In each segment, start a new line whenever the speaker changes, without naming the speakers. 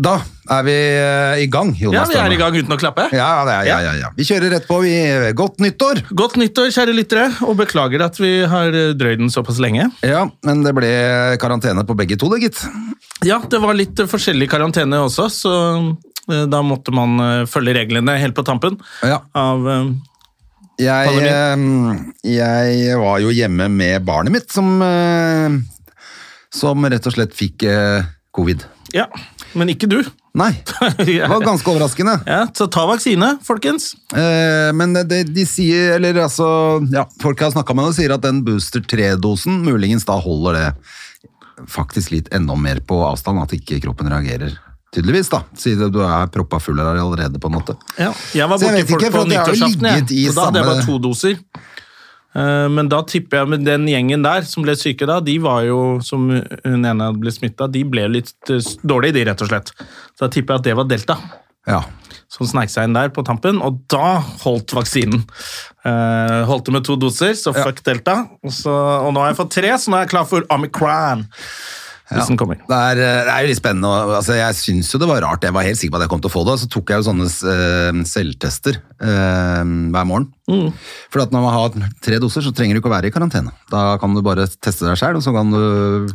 Da er vi eh, i gang,
Ja,
Jonas.
vi er
Døhme.
i gang uten å klappe.
Ja, det er, ja, ja, ja. Vi kjører rett på. Vi, godt nyttår!
Godt nyttår, kjære lyttere, og beklager at vi har eh, drøyd den såpass lenge.
Ja, men det ble karantene på begge to, det, gitt.
Ja, det var litt eh, forskjellig karantene også, så eh, da måtte man eh, følge reglene helt på tampen
Ja.
av eh,
Jeg, eh, jeg var jo hjemme med barnet mitt, som, eh, som rett og slett fikk eh, covid.
Ja, men ikke du.
Nei, det var ganske overraskende.
Ja, så ta vaksine, folkens.
Eh, Men det, de sier, eller altså, ja, folk jeg har snakket med og sier at den booster 3-dosen muligens da holder det faktisk litt enda mer på avstand, at ikke kroppen reagerer. Tydeligvis da, siden du er proppa full her allerede på en måte.
Ja, jeg var
Så jeg
borte i
vet
folk
ikke,
på
for at jeg har jo
nyttårsaften, jeg.
ligget i
Så da hadde jeg
samme-
bare to doser. Eh, Men da tipper jeg med den gjengen der som ble syke da, de var jo, som hun ene hadde blitt smitta, de ble litt eh, s- dårlige, de, rett og slett. Så da tipper jeg at det var delta
Ja,
som sneik seg inn der på tampen, og da holdt vaksinen. Eh, holdt det med to doser, så fuck delta. Og, så, og nå har jeg fått tre, så nå er jeg klar for omikron. Hvis den kommer.
det er, eh, det er jo litt spennende. og, Altså, jeg synes jo det var rart, jeg var helt sikker på at jeg kom til å få det, så tok jeg jo sånne eh, selvtester eh, hver morgen.
Mm.
For at når man har tre doser, så trenger du ikke å være i karantene. Da kan du bare teste deg selv, og så kan du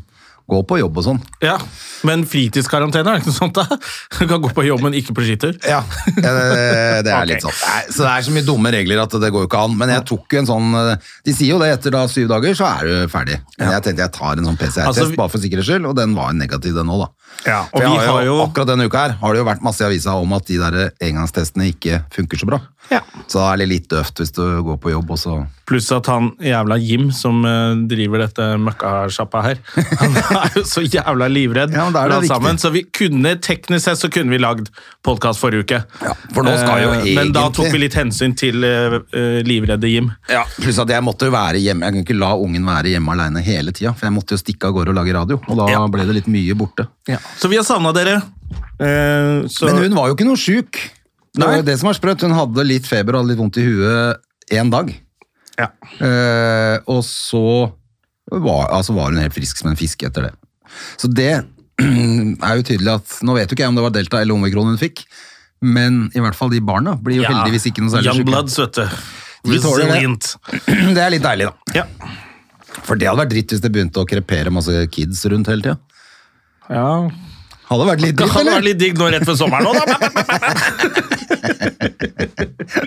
gå på jobb og sånn.
Ja, Men fritidskarantene, er det ikke noe sånt? da? Du kan gå på jobb, men ikke på skitur.
Ja, det, det
Ok.
er litt sånn. Nei, så det er så mye dumme regler at det går jo ikke an. Men jeg tok jo en sånn eh, De sier jo det, etter da syv dager så er du ferdig. Men jeg tenkte jeg tar en sånn PCR-test
Altså, vi-
bare for sikkerhets skyld, og den var negativ, den òg, da.
Ja, og
For jeg
vi
har
har
jo,
jo-
Akkurat denne uka her har det jo vært masse i avisa om at de der engangstestene ikke funker så bra.
Ja.
Så da er det litt døvt hvis du går på jobb, og så
Pluss at han jævla Jim som eh, driver dette møkkasjappa her, han er jo så jævla livredd.
Ja, men da er det
for alt
viktig.
sammen, så vi kunne, teknisk sett så kunne vi lagd podkast forrige uke.
Ja, for nå skal jo
Eh, Men da
egentlig-
tok vi litt hensyn til eh, eh, livredde Jim.
Pluss at jeg måtte jo være hjemme. Jeg kunne ikke la ungen være hjemme aleine hele tida, for jeg måtte jo stikke av gårde og lage radio, og da
Ja.
ble det litt mye borte.
Så vi har savna dere. Eh, så,
Men hun var jo ikke noe sjuk. Det var
Nei.
jo det som var sprøtt. Hun hadde litt feber og hadde litt vondt i huet en dag.
ja.
Eh, og så var, altså var hun helt frisk som en fisk etter det. Så det er jo tydelig at Nå vet jo ikke jeg om det var delta eller omikron hun fikk, men i hvert fall de barna blir jo
Ja,
heldigvis ikke noe særlig
Young
syke.
Bloods, vet du.
De tåler det.
Resilient.
Det er litt deilig, da.
Ja.
For det hadde vært dritt hvis det begynte å krepere masse kids rundt hele tida.
ja.
Hadde vært litt
Det
dritt,
hadde vært
eller?
litt digg nå rett før sommeren òg, da.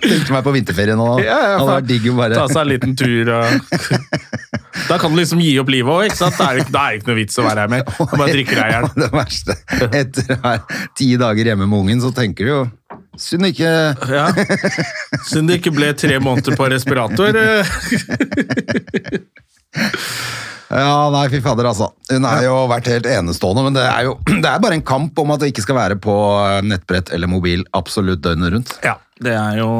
Tenkte meg på vinterferie nå. da.
Ja, ja,
hadde
faen.
vært digg å bare
Ta seg en liten tur og Da kan du liksom gi opp livet òg, ikke sant? Da er det ikke, da er det ikke noe vits å være her mer. Du Bare drikker deg i hjel.
Og Det verste. Etter å ha ti dager hjemme med ungen, så tenker du jo Synd ikke
Ja. Synd det ikke ble tre måneder på respirator. eh,
Ja, nei, fy fader, altså. Hun har jo vært helt enestående, men det er jo det er bare en kamp om at det ikke skal være på eh, nettbrett eller mobil absolutt døgnet rundt.
Ja, det er jo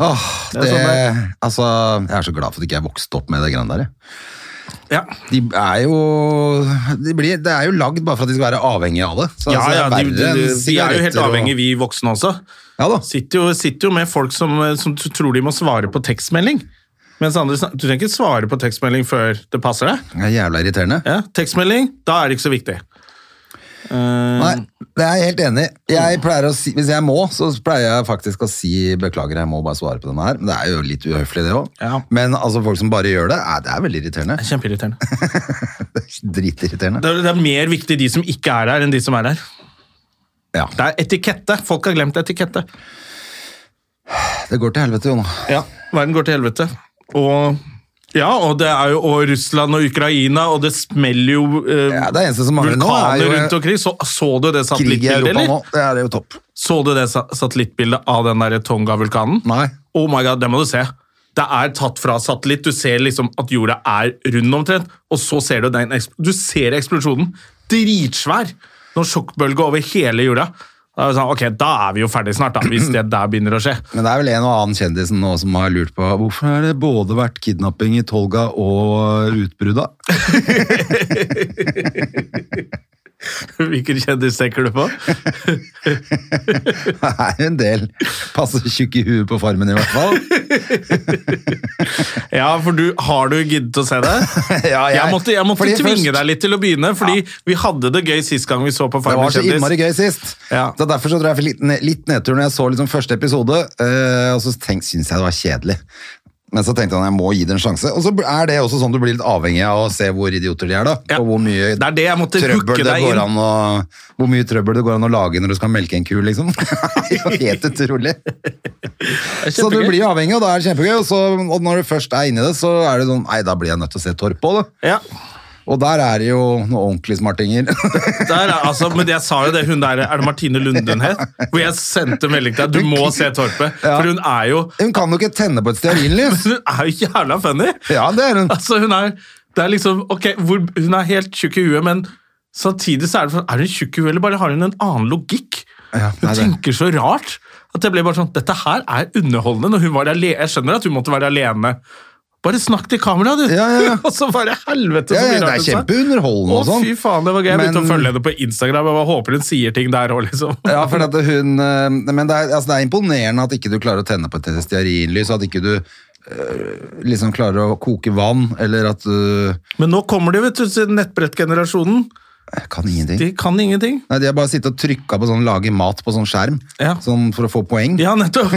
Åh,
er
det,
sånn
altså, jeg er så glad for at ikke jeg vokste opp med det greiene der. jeg.
Ja,
De er jo, de blir, det er jo lagd bare for at de skal være avhengige av det. Så,
ja,
altså, det
ja
er
de,
verre
de, de, de
enn
er jo helt
sigaretter og-
avhengige, vi voksne også.
Ja da.
Sitter jo, sitter jo med folk som, eh, som tror de må svare på tekstmelding. Mens andre, snak- Du trenger ikke svare på tekstmelding før det passer deg.
Det er jævla irriterende.
Ja, tekstmelding, da er det ikke så viktig. Eh,
Nei,
Mm.
det er jeg helt enig i. Jeg pleier å si, hvis jeg må, så pleier jeg faktisk å si beklager, jeg må bare svare på denne her. Men det er jo litt uhøflig, det òg.
Ja.
Men altså, folk som bare gjør det, eh, det er veldig irriterende.
Kjempeirriterende.
Dritirriterende.
Det er, det er mer viktig de som ikke er der, enn de som er der.
Ja.
Det er etikette. Folk har glemt etikette.
Det går til helvete, Jon.
Ja. Verden går til helvete. Og, ja, og det er jo og Russland og Ukraina, og det smeller jo eh,
Ja, det eneste som mangler nå, er
vulkaner
jo- eh,
rundt omkring. Så, så du det
Krig i
satellittbildet,
Europa nå,
eller?
det er jo topp.
Så du det sa- satellittbildet av den der Tonga-vulkanen?
Nei.
Oh my god, det må du se. Det er tatt fra satellitt. Du ser liksom at jorda er rund omtrent, og så ser du den eks- Du ser eksplosjonen. Dritsvær! noen sjokkbølge over hele jula. Da er, det sånn, ok, da er vi jo ferdig snart, da, hvis det der begynner å skje.
Men det er vel en og annen kjendisen nå som har lurt på hvorfor har det både vært kidnapping i Tolga og utbrudd, da?
Hvilken kjendis tenker du på?
Det er jo en del passe tjukk i huet på farmen, i hvert fall.
Ja, for du, har du giddet å se det?
Ja,
jeg, måtte, jeg måtte
fordi
tvinge
først-
deg litt til å begynne, fordi vi hadde det gøy sist gang vi så på
Det
Farmen
var så innmari
kjendis.
gøy sist.
Ja.
Så Derfor så tror jeg jeg fikk litt, ned- litt nedtur når jeg så liksom første episode, eh, og så tenk, syntes jeg det var kjedelig. Men så tenkte jeg jeg må gi det en sjanse. Og så er det også sånn du blir litt avhengig av å se hvor idioter de er, da.
Ja.
Og hvor mye
Det er det jeg måtte hooke
trøbbel det
deg
går
inn.
an å, hvor mye trøbbel det går an å lage når du skal melke en ku, liksom. Det er jo Helt utrolig. Så du blir avhengig, og da er det kjempegøy. Og, så, og når du først er inni det, så er det sånn Nei, da blir jeg nødt til å se Torp på, da.
Ja,
Og der er det jo noen ordentlige smartinger.
der, er- altså, men jeg sa jo det, hun der, er det Martine Lunden het? Hvor jeg sendte melding til deg, du må se Torpet,
Ja.
for hun er jo,
Hun kan jo ikke tenne på et stearinlys!
hun er jo jævla funny.
Ja, det er hun.
Altså, hun er, det er liksom, ok, hvor, hun er helt tjukk i huet, men samtidig så er det, sånn, er hun tjukk i huet, eller bare har hun en annen logikk?
Ja,
hun
nei, det-
tenker så rart, at jeg ble bare sånn, dette her er underholdende, når hun var alene, jeg skjønner at hun måtte være alene. Bare snakk til kamera, du!
Ja, ja, ja.
og så bare helvete
Ja,
så
ja,
blir
det er
rart, altså.
kjempeunderholdende og
Å,
sånn.
fy faen, det var gøy. Jeg begynte
Men-
å følge henne på Instagram. Jeg bare håper hun sier ting der òg, liksom.
Ja, for at hun, eh, men det er, altså det er imponerende at ikke du klarer å tenne på et stearinlys, at ikke du eh, liksom klarer å koke vann, eller at du
Men nå kommer de, vet du, til nettbrettgenerasjonen.
Jeg kan ingenting.
De kan ingenting.
Nei, De har bare sittet og trykka på sånn lage mat på sånn skjerm,
Ja.
sånn for å få poeng.
Ja, nettopp!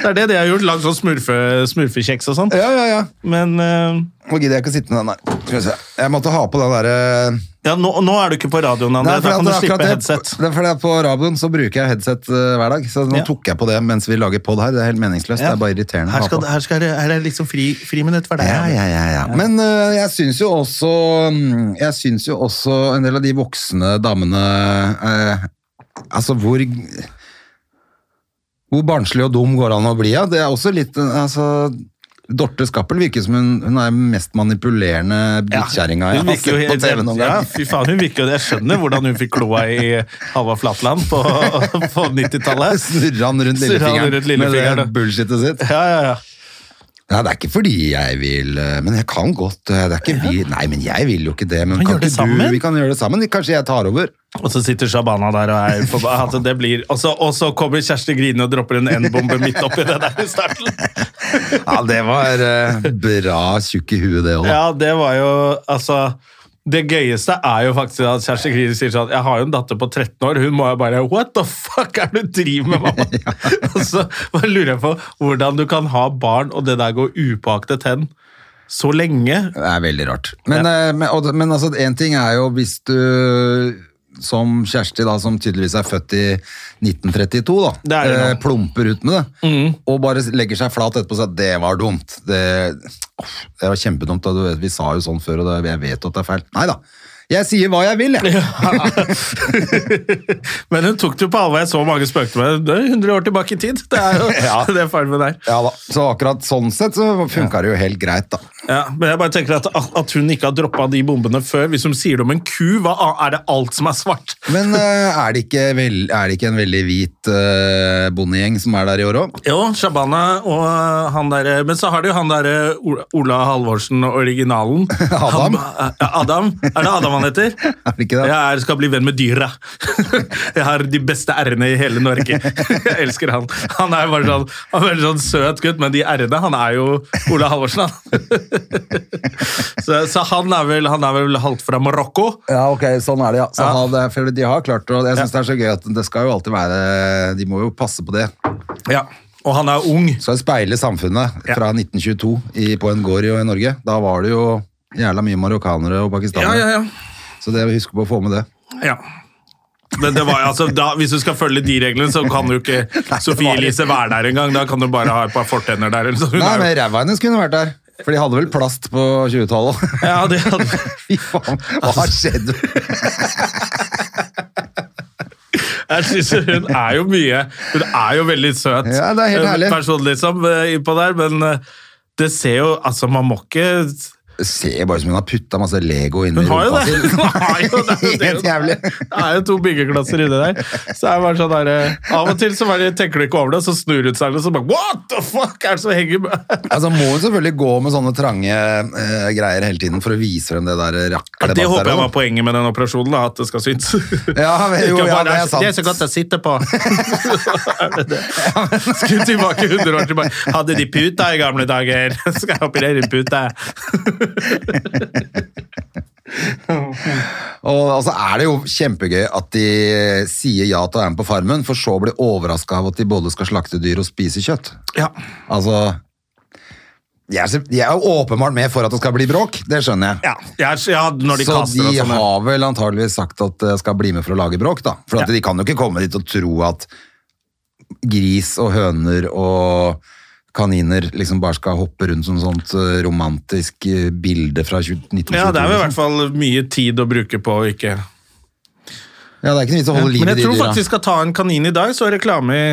det er det de har gjort. Lagd sånn smurfe, smurfekjeks og sånn.
ja, ja. ja.
Men eh,
Nå gidder jeg ikke å sitte med den der. Skal vi se. Jeg måtte ha på den eh, derre
ja, nå, nå er du ikke på radioen, André. Da kan du slippe headset.
det er fordi at på radioen så bruker jeg headset eh, hver dag. Så nå
Ja.
tok jeg på det mens vi lager pod her. Det er helt meningsløst. Det er bare irriterende. å
Her,
ha
skal,
på.
her, skal, det- her er det liksom fri, friminutt for deg.
Ja,
André.
ja, ja, ja. Men eh, jeg syns jo også mm, Jeg syns jo også en del av de voksne damene eh, Altså, hvor Hvor barnslig og dum går det an å bli? Ja? Det er også litt eh, altså, Dorte Skappel virker som hun, hun er den mest manipulerende drittkjerringa jeg
Hun
har
virker
sett
jo
på TV noen
altså, ja,
gang.
fy faen, hun virker jo det. Jeg skjønner hvordan hun fikk kloa i Halvard Flatland på, på 90-tallet.
Snurrer han rundt
Snurrer han
lillefingeren,
rundt lillefingeren, ja.
med det bullshitet sitt?
Ja, ja, ja.
Nei, det er ikke fordi jeg vil eh, Men jeg kan godt eh, det er ikke vi, Nei, men jeg vil jo ikke det. Men
Men
kan
gjør det
ikke du,
sammen?
vi kan gjøre det sammen. Kanskje jeg tar over.
Og så sitter Shabana der og er forba- altså, det blir, og, så, og så kommer Kjersti Grine og dropper en N-bombe midt oppi det der i starten.
Ja, det var eh, bra tjukk i huet, det òg.
Ja, det var jo Altså det gøyeste er jo faktisk at Kjersti Grine sier sånn Jeg har jo en datter på 13 år, hun må jo bare What the fuck er det du driver med, mamma? Og så bare lurer jeg på hvordan du kan ha barn og det der går upåaktet hen så lenge.
Det er veldig rart. Men, eh, men, og, men altså, en ting er jo hvis du som Kjersti, da, som tydeligvis er født i 1932,
Det
da,
er det nå. Mm.
eh, plumper ut med det, og bare legger seg flat etterpå og sier at det var dumt. Det, Åh, det var kjempedumt. Da. Du vet, vi sa jo sånn før, og det, jeg vet at det er feil. Nei da. Jeg sier hva jeg vil, jeg.
Men hun tok det jo på alvor. Jeg så mange spøkte med det. Det er 100 år tilbake i tid. Det er jo det farmen der.
Ja da. Så akkurat sånn sett så funka det jo helt greit, da.
Ja, men jeg bare tenker at, at hun ikke har droppa de bombene før. Hvis hun sier det om en ku, hva a- er det alt som er svart?
Men eh, er, det ikke vel, er det ikke en veldig hvit uh, bondegjeng som er der i år òg?
Jo, Shabana og han derre Men så har de jo han derre Ola- Ola Halvorsen, originalen.
Adam?
Han, ja, Adam. Er det Adam han heter?
Er det ikke det?
Jeg er, skal bli venn med dyra. Jeg har de beste r-ene i hele Norge. Jeg elsker han. Han er bare sånn, han er en sånn søt gutt, men de r-ene Han er jo Ola Halvorsen, han. Så, så han er vel, han er vel halvt fra Marokko.
Ja, ok, sånn er det, ja. Så
Ja.
ha det, for de har klart det, og jeg synes det er så gøy at det skal jo alltid være De må jo passe på det.
Ja, og han er ung.
Skal speile samfunnet
Ja.
fra 1922 i, på en gård i, i Norge. Da var det jo jævla mye marokkanere og
Ja,
pakistanere.
ja, ja.
Så det husk på å få med det.
ja. Men det var, altså, da, hvis du skal følge de reglene, så kan du ikke Sofie Elise være der engang. Da kan du bare ha et par fortenner der. Eller sånn. Hun
Nei,
er jo-
men ræva hennes kunne vært der. For de hadde vel plast på 20-tallet.
ja, det hadde...
Fy faen, hva har skjedd?
Jeg synes hun er jo mye Hun er jo veldig søt
Ja, det er helt
eh,
herlig.
person, liksom, eh, innpå der, men eh, det ser jo Altså, man må ikke
Ser bare ut som hun har putta masse Lego inn i
Hun har jo
rumpa
det!
si.
Hun har jo det. Det er jo-
Helt jævlig.
Det er jo to byggeklosser inni der. Så er det bare sånn der, eh, Av og til så bare tenker du ikke over det, så snur hun seg og så bare What the fuck er det som henger med?
Altså, må hun selvfølgelig gå med sånne trange eh, greier hele tiden for å vise frem det der raklet
Det håper jeg var poenget med den operasjonen, da, at det skal synes.
Ja, men jo,
Ikke
ja,
bare,
det er sant.
Det er så godt å sitte på. Skulle tilbake 100 år tilbake. Hadde de puta i gamle dager? Skal jeg operere puta?
Og, og så er det jo kjempegøy at de eh, sier ja til å være med på farmen, for så å bli overraska av at de både skal slakte dyr og spise kjøtt.
Ja.
Altså De er, så- de er jo åpenbart med for at det skal bli bråk, det skjønner jeg.
Ja, ja, ja når de
så
kaster og
de
sånn.
har vel antageligvis sagt at de skal bli med for å lage bråk, da. For at
Ja.
de kan jo ikke komme dit og tro at gris og høner og kaniner liksom bare skal hoppe rundt som sånt eh, romantisk eh, bilde fra 20- 1922.
Ja, det er vel i
liksom.
hvert fall mye tid å bruke på å ikke
Ja, det er ikke noe vits å holde liv
Men
i
jeg
de
tror
dyra.
faktisk jeg skal ta en kanin i dag, så er reklame i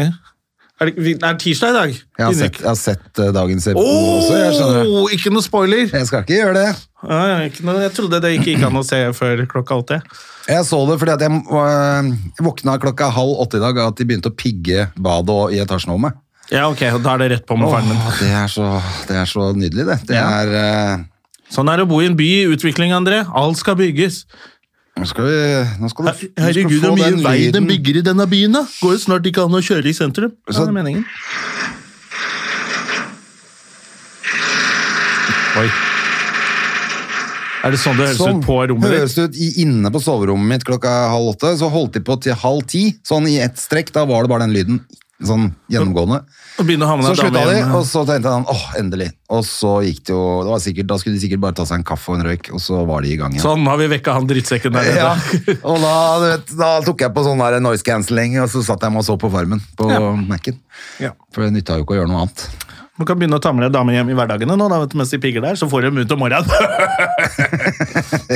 Er det, vi- er det tirsdag i dag?
Jeg har
Didrik?
sett, jeg har sett eh, dagens episode
Åh,
også, jeg skjønner. det.
ikke noe spoiler!
Jeg skal ikke gjøre det.
Ja, ja, ikke noe, jeg trodde det ikke gikk an å se før klokka åtte.
Jeg så det fordi at jeg eh, våkna klokka halv åtte i dag av at de begynte å pigge badet og- i etasjen over meg.
Ja, ok, og da er det rett på med faren min.
Åh, det, er så, det er så nydelig, det. Det
Ja.
er eh,
Sånn er det å bo i en by i utvikling, André. Alt skal bygges.
Nå skal, vi, nå skal du, du
Herregud,
skal
hvor
få
mye
den
vei de
lyden.
bygger i denne byen, da! Går jo snart ikke an å kjøre i sentrum. Ja, det er meningen. Oi. Er det sånn det høres
Sånn
ut på rommet ditt?
høres det ut i, inne på soverommet mitt klokka halv åtte. Så holdt de på til halv ti, sånn i ett strekk. Da var det bare den lyden sånn gjennomgående.
Og begynner å havne
Så
en eh, dame
slutta de,
igjen.
og så tenkte han åh, endelig. Og så gikk det jo det var sikkert, Da skulle de sikkert bare ta seg en kaffe og en røyk, og så var de i gang igjen.
Sånn har vi vekka han drittsekken der nede.
Ja, og da, du vet, da tok jeg på sånn der noise cancelling, og så satt jeg meg og så på Farmen på Mac-en.
Ja.
For det nytta jo ikke å gjøre noe annet.
Du kan begynne å ta med deg damer hjem i hverdagene nå, da, vet du, mens de pigger der, så får de dem ut om morgenen.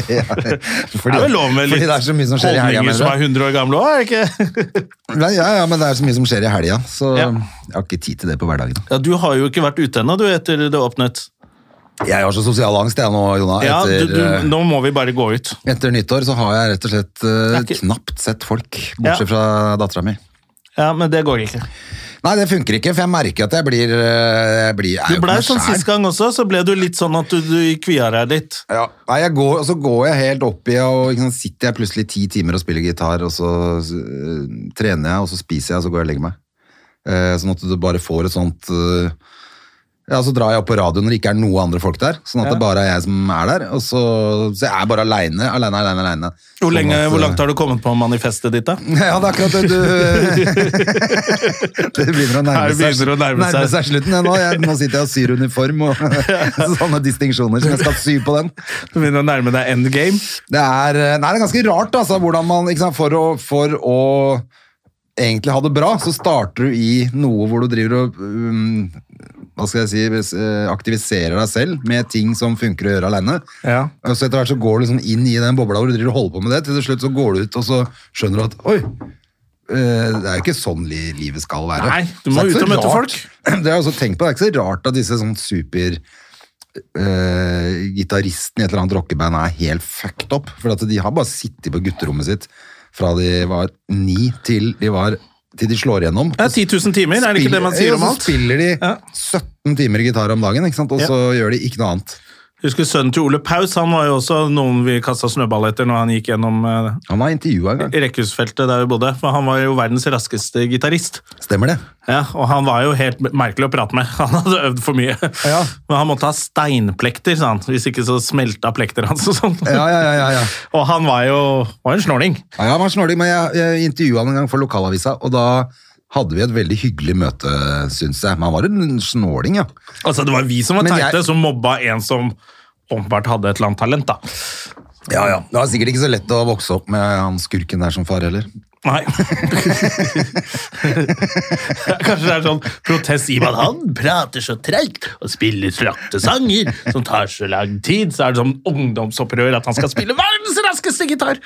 Ja,
Det
fordi,
er vel lov med litt
fordi det er så mye som skjer i helga.
holdninger som er
mener
100 år gamle òg, er det ikke?
du? Nei, Ja, ja, men det er så mye som skjer i helga, så
Ja.
jeg har ikke tid til det på hverdagen.
Ja, du har jo ikke vært ute ennå, du, etter det åpnet.
Jeg har så sosial angst jeg nå, Jona.
Ja, du,
Etter,
du,
eh,
nå må vi bare gå ut.
etter nyttår så har jeg rett og slett eh,
Det er ikke-
knapt sett folk,
Ja.
bortsett fra dattera mi.
Ja, men det går ikke.
Nei, det funker ikke, for jeg merker at jeg blir, eh, jeg blir jeg er
Du
jo ikke
blei
meg
sånn
selv.
sist gang også, så ble du litt sånn at du, du kvia deg litt.
Ja. Nei, jeg går, og så går jeg helt opp i og ikke sant, sitter jeg plutselig ti timer og spiller gitar, og så øh, trener jeg, og så spiser jeg, og så går jeg og legger meg. Eh, sånn at du bare får et sånt øh, Ja, så drar jeg opp på radioen når det ikke er noe andre folk der. Sånn at det bare er jeg som er der. Og så, så jeg er bare aleine, aleine, aleine. aleine.
Hvor, lenge,
sånn at,
hvor langt har du kommet på manifestet ditt, da?
Ja, det er akkurat det du Det begynner å nærme
Her
seg,
begynner det å nærme seg.
slutten. jeg Nå, jeg, nå sitter jeg og syr uniform og sånne distinksjoner som jeg skal sy på den.
Du begynner å nærme deg end game.
Det er, eh, nei, det er ganske rart, altså, hvordan man ikke sant, for, å, for å egentlig ha det bra, så starter du i noe hvor du driver og um, hva skal jeg si, hvis, eh, aktiviserer deg selv med ting som funker å gjøre alene.
Ja.
Og så etter hvert så går du liksom inn i den bobla hvor du driver og holder på med det, til slutt så går du ut og så skjønner du at oi, eh, det er jo ikke sånn li livet skal være.
Nei, du må
Så det er
ut og
ikke så
møte
rart- Det har jeg også tenkt på, det er ikke så rart at disse sånn super eh, gitaristen i et eller annet rockeband er helt fucked up. For at de har bare sittet på gutterommet sitt fra de var ni til de, var, til de slår igjennom.
Det er 10 000 timer, er det ikke det man sier
Ja,
om
så
alt?
spiller de
Ja.
17 timer gitar om dagen, ikke sant? og
Ja.
så gjør de ikke noe annet.
Husker sønnen til Ole Paus, han var jo også noen vi kasta snøball etter når han gikk gjennom eh,
Han var intervjua en gang.
rekkehusfeltet der vi bodde, for han var jo verdens raskeste gitarist.
Stemmer det?
Ja, og han var jo helt merkelig å prate med. Han hadde øvd for mye.
Ja.
Men han måtte ha steinplekter, sa han. Hvis ikke så smelta plekter hans og sånn.
Ja, ja, ja. ja, ja.
Og han var jo var en snåling.
ja han var snålig, men jeg, jeg intervjua han en gang for lokalavisa, og da hadde vi et veldig hyggelig møte, syns jeg. Men han var en snåling, ja.
Altså, det var vi som var
Men
teite,
jeg-
som mobba en som åpenbart hadde et eller annet talent, da.
Ja, ja. Det var sikkert ikke så lett å vokse opp med han skurken der som far heller.
Nei. Kanskje det er sånn protest i meg. Han prater så treigt og spiller slaktesanger som tar så lang tid. Så er det sånn ungdomsopprør at han skal spille verdens raskeste gitar!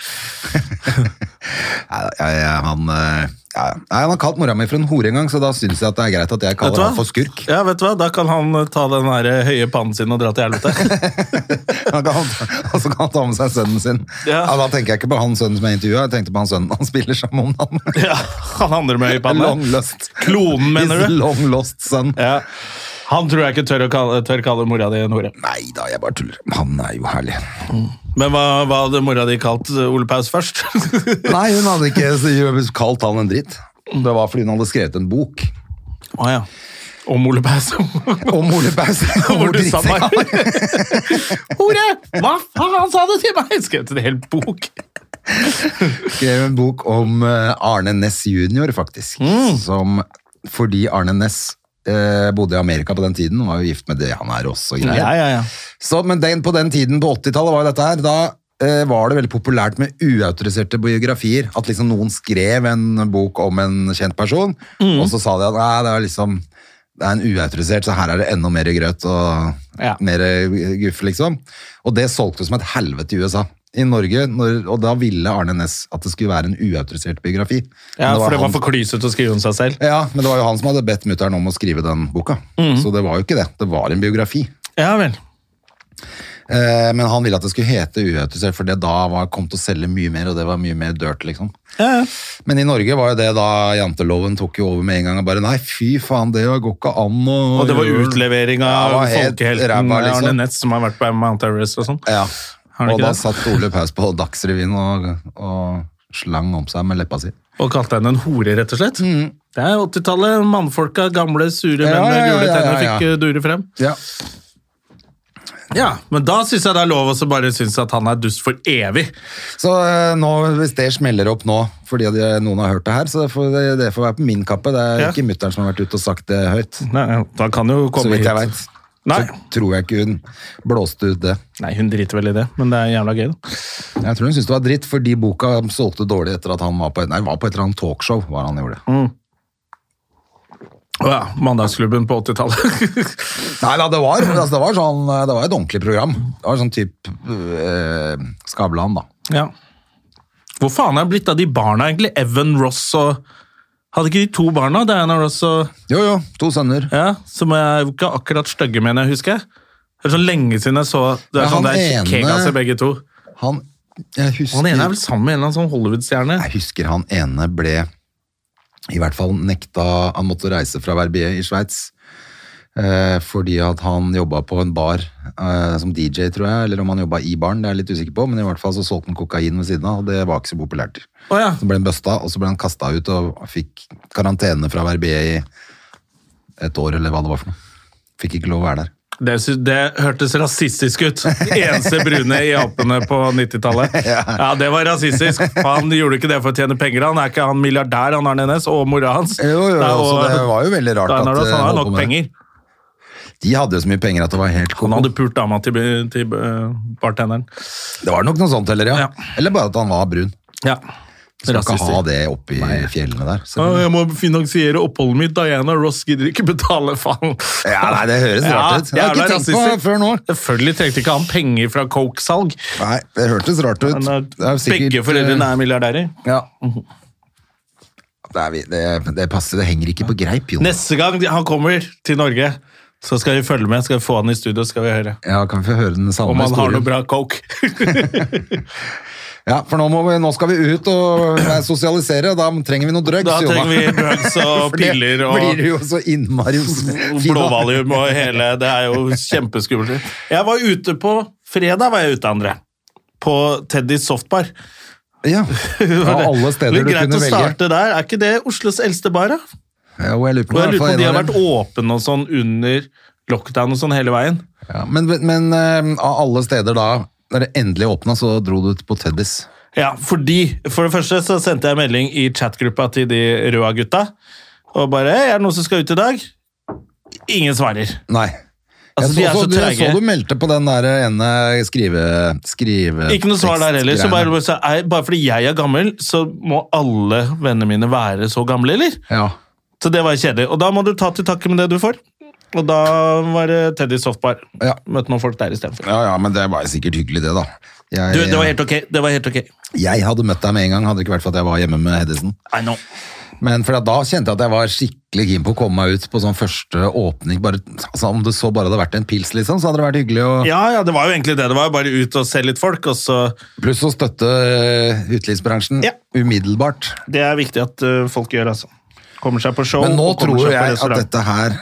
Nei, jeg, jeg, han, eh, Ja, ja. Nei, Han har kalt mora mi for en hore en gang, så da syns jeg at det er greit at
Vet
jeg
du
kaller
hva?
han for skurk.
Ja, vet du hva? Da kan han eh, ta den der eh, høye pannen sin og dra til helvete.
Han kan, og så kan han ta med seg sønnen sin. Ja.
Ja.
Da tenker jeg ikke på han sønnen som jeg intervjua, jeg tenkte på han sønnen han spiller sammen med om dagen.
ja, han andre med høy panne.
Long lost.
Klonen, mener
His
du?
Long lost son.
Ja. Han tror jeg ikke tør å kalle, tør kalle mora di en hore.
Nei da, jeg bare tuller. Han er jo herlig.
Men hva, hva hadde mora di kalt eh, Ole Paus først? Å
Nei, hun hadde ikke kalt han en dritt. Det var fordi hun hadde skrevet en bok
ja. Om Ole Paus.
om Ole Paus.
Hvor
Hvor
du sa
drittsekk han var.
Hore! Hva faen sa du til meg? Jeg skrev til en hel bok.
skrev en bok om eh, Arne Næss junior, faktisk.
Mm.
Som, fordi Arne Næss eh, bodde i Amerika på den tiden, og var jo gift med det han er også. og Greier.
Ja, ja, ja.
Så, men den, på den tiden, på 80-tallet, var jo dette her. Da eh, var det veldig populært med uautoriserte biografier. At liksom noen skrev en bok om en kjent person,
Mm.
og så sa de at nei, det er liksom det er en uautorisert, så her er det enda mer grøt og
Ja.
mer guff, liksom. Og det solgte som et helvete i USA. I Norge, når, og da ville Arne Næss at det skulle være en uautorisert biografi.
Ja,
Men
for det var
han-
for klysete å skrive om seg selv.
ja, men det var jo han som hadde bedt mutter'n om å skrive den boka.
Mhm.
Så det var jo ikke det. Det var en biografi.
Ja vel.
Eh, men han ville at det skulle hete uautorisert, for det da var, kom til å selge mye mer, og det var mye mer dirt, liksom.
Ja, ja.
Men i Norge var jo det da janteloven tok jo over med en gang, og bare nei, fy faen, det går ikke an å
Og det var
gjøre-
utlevering
Ja, det
av
var helt
folkehelten
ræva, liksom.
Arne Næss, som har vært på Mount Everest og sånn.
Ja.
Har det
Og
ikke
da
det?
satt Ole Paus på Dagsrevyen og, og slang om seg med leppa si.
Og kalte henne en hore, rett og slett. Det er 80-tallet. Mannfolka, gamle, sure menn
Mm. Ja,
med
ja, ja,
gule
ja,
tenner
ja, ja.
fikk eh, dure frem.
Ja.
Ja, Men da syns jeg det er lov å så bare synes at han er dust for evig.
Så eh, nå, hvis det smeller opp nå, fordi at jeg- noen har hørt det her, så det får, det, det får være på min kappe. Det er
Ja.
ikke mutter'n som har vært ute og sagt det høyt,
Nei, da kan jo
så
komme
vidt jeg
hit.
veit.
Nei.
Så tror jeg ikke hun blåste ut det.
Nei, hun driter vel i det, men det er jævla gøy, da.
Jeg tror hun syntes det var dritt, fordi boka solgte dårlig etter at han var på, nei, var på et eller annet talkshow. var han gjorde.
Mm. Å ja, Mandagsklubben på 80-tallet.
Nei da, det var, altså, det var sånn, det var et ordentlig program. Det var sånn typ øh, Skavlan, da.
ja. Hvor faen er det blitt av de barna, egentlig? Evan Ross og Hadde ikke de to barna? Diana Ross og
Jo, jo, to sønner.
Ja, som er ikke akkurat stygge, mener jeg, husker jeg. Det er så lenge siden jeg så Det
Men
er sånn det
han
er
ene-
kegas i begge to.
Han jeg husker,
Han ene er vel sammen med en eller annen sånn Hollywood-stjerne.
jeg husker han ene ble i hvert fall nekta Han måtte reise fra Verbier i Sveits. eh, fordi at han jobba på en bar eh, som DJ, tror jeg, eller om han jobba i baren, det er jeg litt usikker på, men i hvert fall så solgte han kokain ved siden av, og det var ikke så populært.
Å ja.
Så ble han bøsta, og så ble han kasta ut og fikk karantene fra Verbier i et år, eller hva det var for noe. Fikk ikke lov å være der.
Det, sy- det hørtes rasistisk ut. Eneste brune i Apene på 90-tallet. Ja, det var rasistisk. Han gjorde ikke det for å tjene penger. Han er ikke han milliardær, han Arne Næss, og mora hans.
Jo, jo,
Nei, og-
så det var jo veldig rart
Diana
at
Ross,
eh,
sånn, han har
holdt på
nok
med det.
penger.
De hadde jo så mye penger at det var helt
Han
koko.
hadde pult dama til, til eh, bartenderen.
Det var nok noe sånt heller, ja.
Ja.
Eller bare at han var brun.
Ja.
Skal
Rasistisk.
ikke ha det oppi fjellene der. Så.
Ja, jeg må finansiere oppholdet mitt. Diana Ross gidder ikke betale, faen.
Ja, nei, det høres
Ja,
rart ut. Jeg har
jævla
ikke tenkt på
rasistisk.
det før nå.
Selvfølgelig trengte ikke han penger fra coke-salg.
Nei, det hørtes rart ut.
Men, eh,
Det er jo sikkert, eh,
Begge foreldrene er milliardærer.
Ja. Det, er, vi- det, det passer, det henger ikke på greip, Jon.
Neste gang de- han kommer til Norge, så skal vi følge med. Skal vi få han i studio, skal vi høre
Ja, kan vi få høre den samme
om han har
historien?
noe bra coke.
Ja, for nå, må vi, nå skal vi ut og eh, sosialisere, og da trenger vi noe drugs,
Da
Jonna.
trenger vi drugs og
For det
piller
blir
og
du jo så innmari
blåvalium og hele Det er jo kjempeskummelt. Jeg var ute på fredag, var jeg ute, André. På Teddys softbar.
Ja, av alle
Det er
steder du
greit
kunne
å
velge.
starte der. Er ikke det Oslos eldste bar, da?
Ja, og jeg lurer på,
Og jeg
i
lurer på om
hvert
de
fall
har
en av
vært
dem.
åpne og sånn under lockdown og sånn hele veien.
Ja, men men eh, av alle steder da, da det endelig åpna, så dro du på Teddys.
Ja, fordi For det første så sendte jeg melding i chatgruppa til de røde gutta. Og bare «Hei, 'Er det noen som skal ut i dag?' Ingen svarer.
Nei.
Altså, de
jeg
er
så,
så
så, du, jeg
trege.
så du meldte på den der ene skrive... skrive
Ikke noe svar der heller. Så bare,
tekstgreiene.
så er, bare fordi jeg er gammel, så må alle vennene mine være så gamle, eller?
Ja.
Så det var kjedelig. Og da må du ta til takke med det du får. Og da var det Teddy Softbar.
Ja.
Møtte noen folk der istedenfor.
ja, ja, men det var sikkert hyggelig det da. Jeg, eh,
Du, det var helt ok. Det var helt ok.
jeg hadde møtt deg med en gang, hadde det ikke vært for at jeg var hjemme med Hedisen.
I know.
Men for at da kjente jeg at jeg var skikkelig keen på å komme meg ut på sånn første åpning. Bare, altså om det så bare hadde vært en pils, liksom, så hadde det vært hyggelig. å...
Ja, ja, det var jo egentlig det. Det var jo bare ut og se litt folk, og så
Pluss å støtte eh, utelivsbransjen
Ja.
umiddelbart.
Det er viktig at eh, folk gjør, altså. Kommer seg på show.
Men nå
og kommer
tror
seg på
jeg at
restaurant.
dette her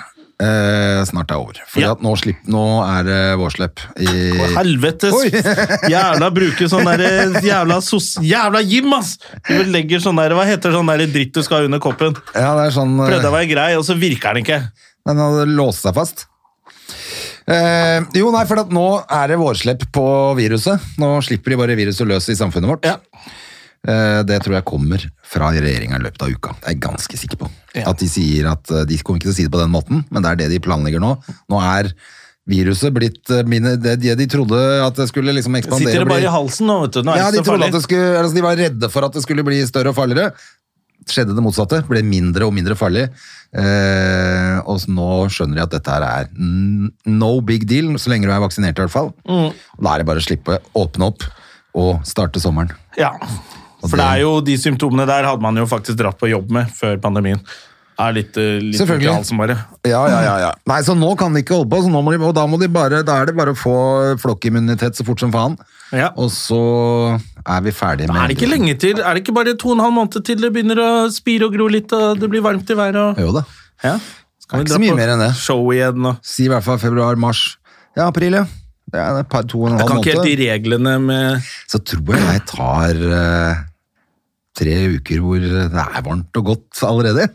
eh, snart er over. Fordi
Ja.
at nå, slipp, nå er det vårslepp i
Å, Helvetes! jævla bruke sånn derre jævla sos... Jævla Jim, ass! Du legger sånn derre Hva heter sånn derre dritt du skal ha under koppen?
Ja, det er sånn
Prøvde å
eh,
være grei, og så virker den ikke.
Den hadde låst seg fast. Eh, jo, nei, for at nå er det vårslepp på viruset. Nå slipper de bare viruset løs i samfunnet vårt.
Ja.
Eh, det tror jeg kommer fra regjeringa i løpet av uka. Det er jeg ganske sikker på.
Ja.
At De sier at eh, de kommer ikke til å si det på den måten, men det er det de planlegger nå. Nå er viruset blitt eh, mine, det, det de trodde at det skulle liksom ekspandere.
Sitter det bare
bli-
i halsen nå, vet du. Nå er
ja, de
det ikke så
trodde at
farlig.
det skulle, altså de var redde for at det skulle bli større og farligere. Skjedde det motsatte, ble mindre og mindre farlig. Eh, og så nå skjønner de at dette her er n- no big deal, så lenge du er vaksinert i hvert fall.
Mm.
Da er det bare å slippe å åpne opp og starte sommeren.
Ja. For det er jo de symptomene der hadde man jo faktisk dratt på jobb med før pandemien. Er litt, eh, litt
Selvfølgelig.
i halsen bare.
Ja, ja, ja, ja. Nei, så nå kan de ikke holde på, så nå må de, og da, må de bare, da er det bare å få flokkimmunitet så fort som faen.
Ja.
Og så er vi ferdige med
Er det ikke lenge til? Er det ikke bare to og en halv måned til det begynner å spire og gro litt, og det blir varmt i været? Og...
Jo da.
Ja. Skal
Det er ikke så mye mer enn det.
show igjen? Og...
Si i hvert fall februar, mars. Ja, april, ja. Det er et par, to og en
Jeg
halv
kan ikke helt
måned.
de reglene med
Så tror jeg jeg tar eh, tre uker hvor det er varmt og godt allerede.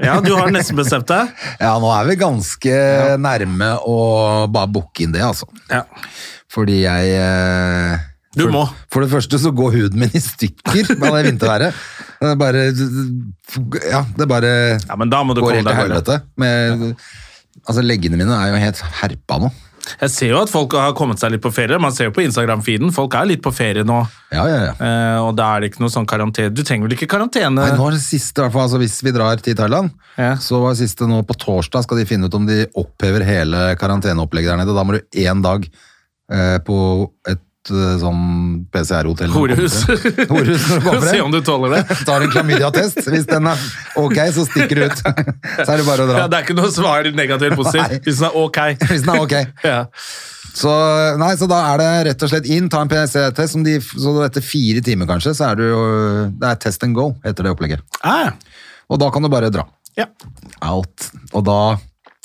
Ja, du har nesten bestemt deg?
Ja, nå er vi ganske nærme å bare booke inn det, altså.
Ja.
Fordi jeg eh,
Du må.
For det første så går huden min i stykker med det vinterværet. Det er bare Ja, det er bare
Ja, men da må du
går
komme
helt til
deg bare.
helvete. Med, altså, leggene mine er jo helt herpa nå.
Jeg ser jo at folk har kommet seg litt på ferie. Man ser jo på Instagram-feeden. Folk er litt på ferie nå,
Ja, ja, ja.
eh, og da er det ikke noe sånn karantene. Du trenger vel ikke karantene?
Nei, nå er det siste, i hvert fall, altså Hvis vi drar til Thailand,
Eh. Ja.
så var det siste nå på torsdag skal de finne ut om de opphever hele karanteneopplegget der nede. Da må du én dag eh, på et eh, sånn PCR-hotell.
Horehus.
Horehus når du kommer
Se om
frem.
du tåler det.
Tar en klamydia-test. Hvis den er ok, så stikker du ut. Så er det bare å dra.
Ja, det er ikke noe svar negativt eller
Nei.
positivt hvis den er ok.
Hvis den er ok.
Ja.
Så, nei, så da er det rett og slett inn, ta en PCR-test, som de- så etter fire timer kanskje, så er du jo Det er test and go etter det opplegget.
Ah,
Og da kan du bare dra.
ja.
out. Og da,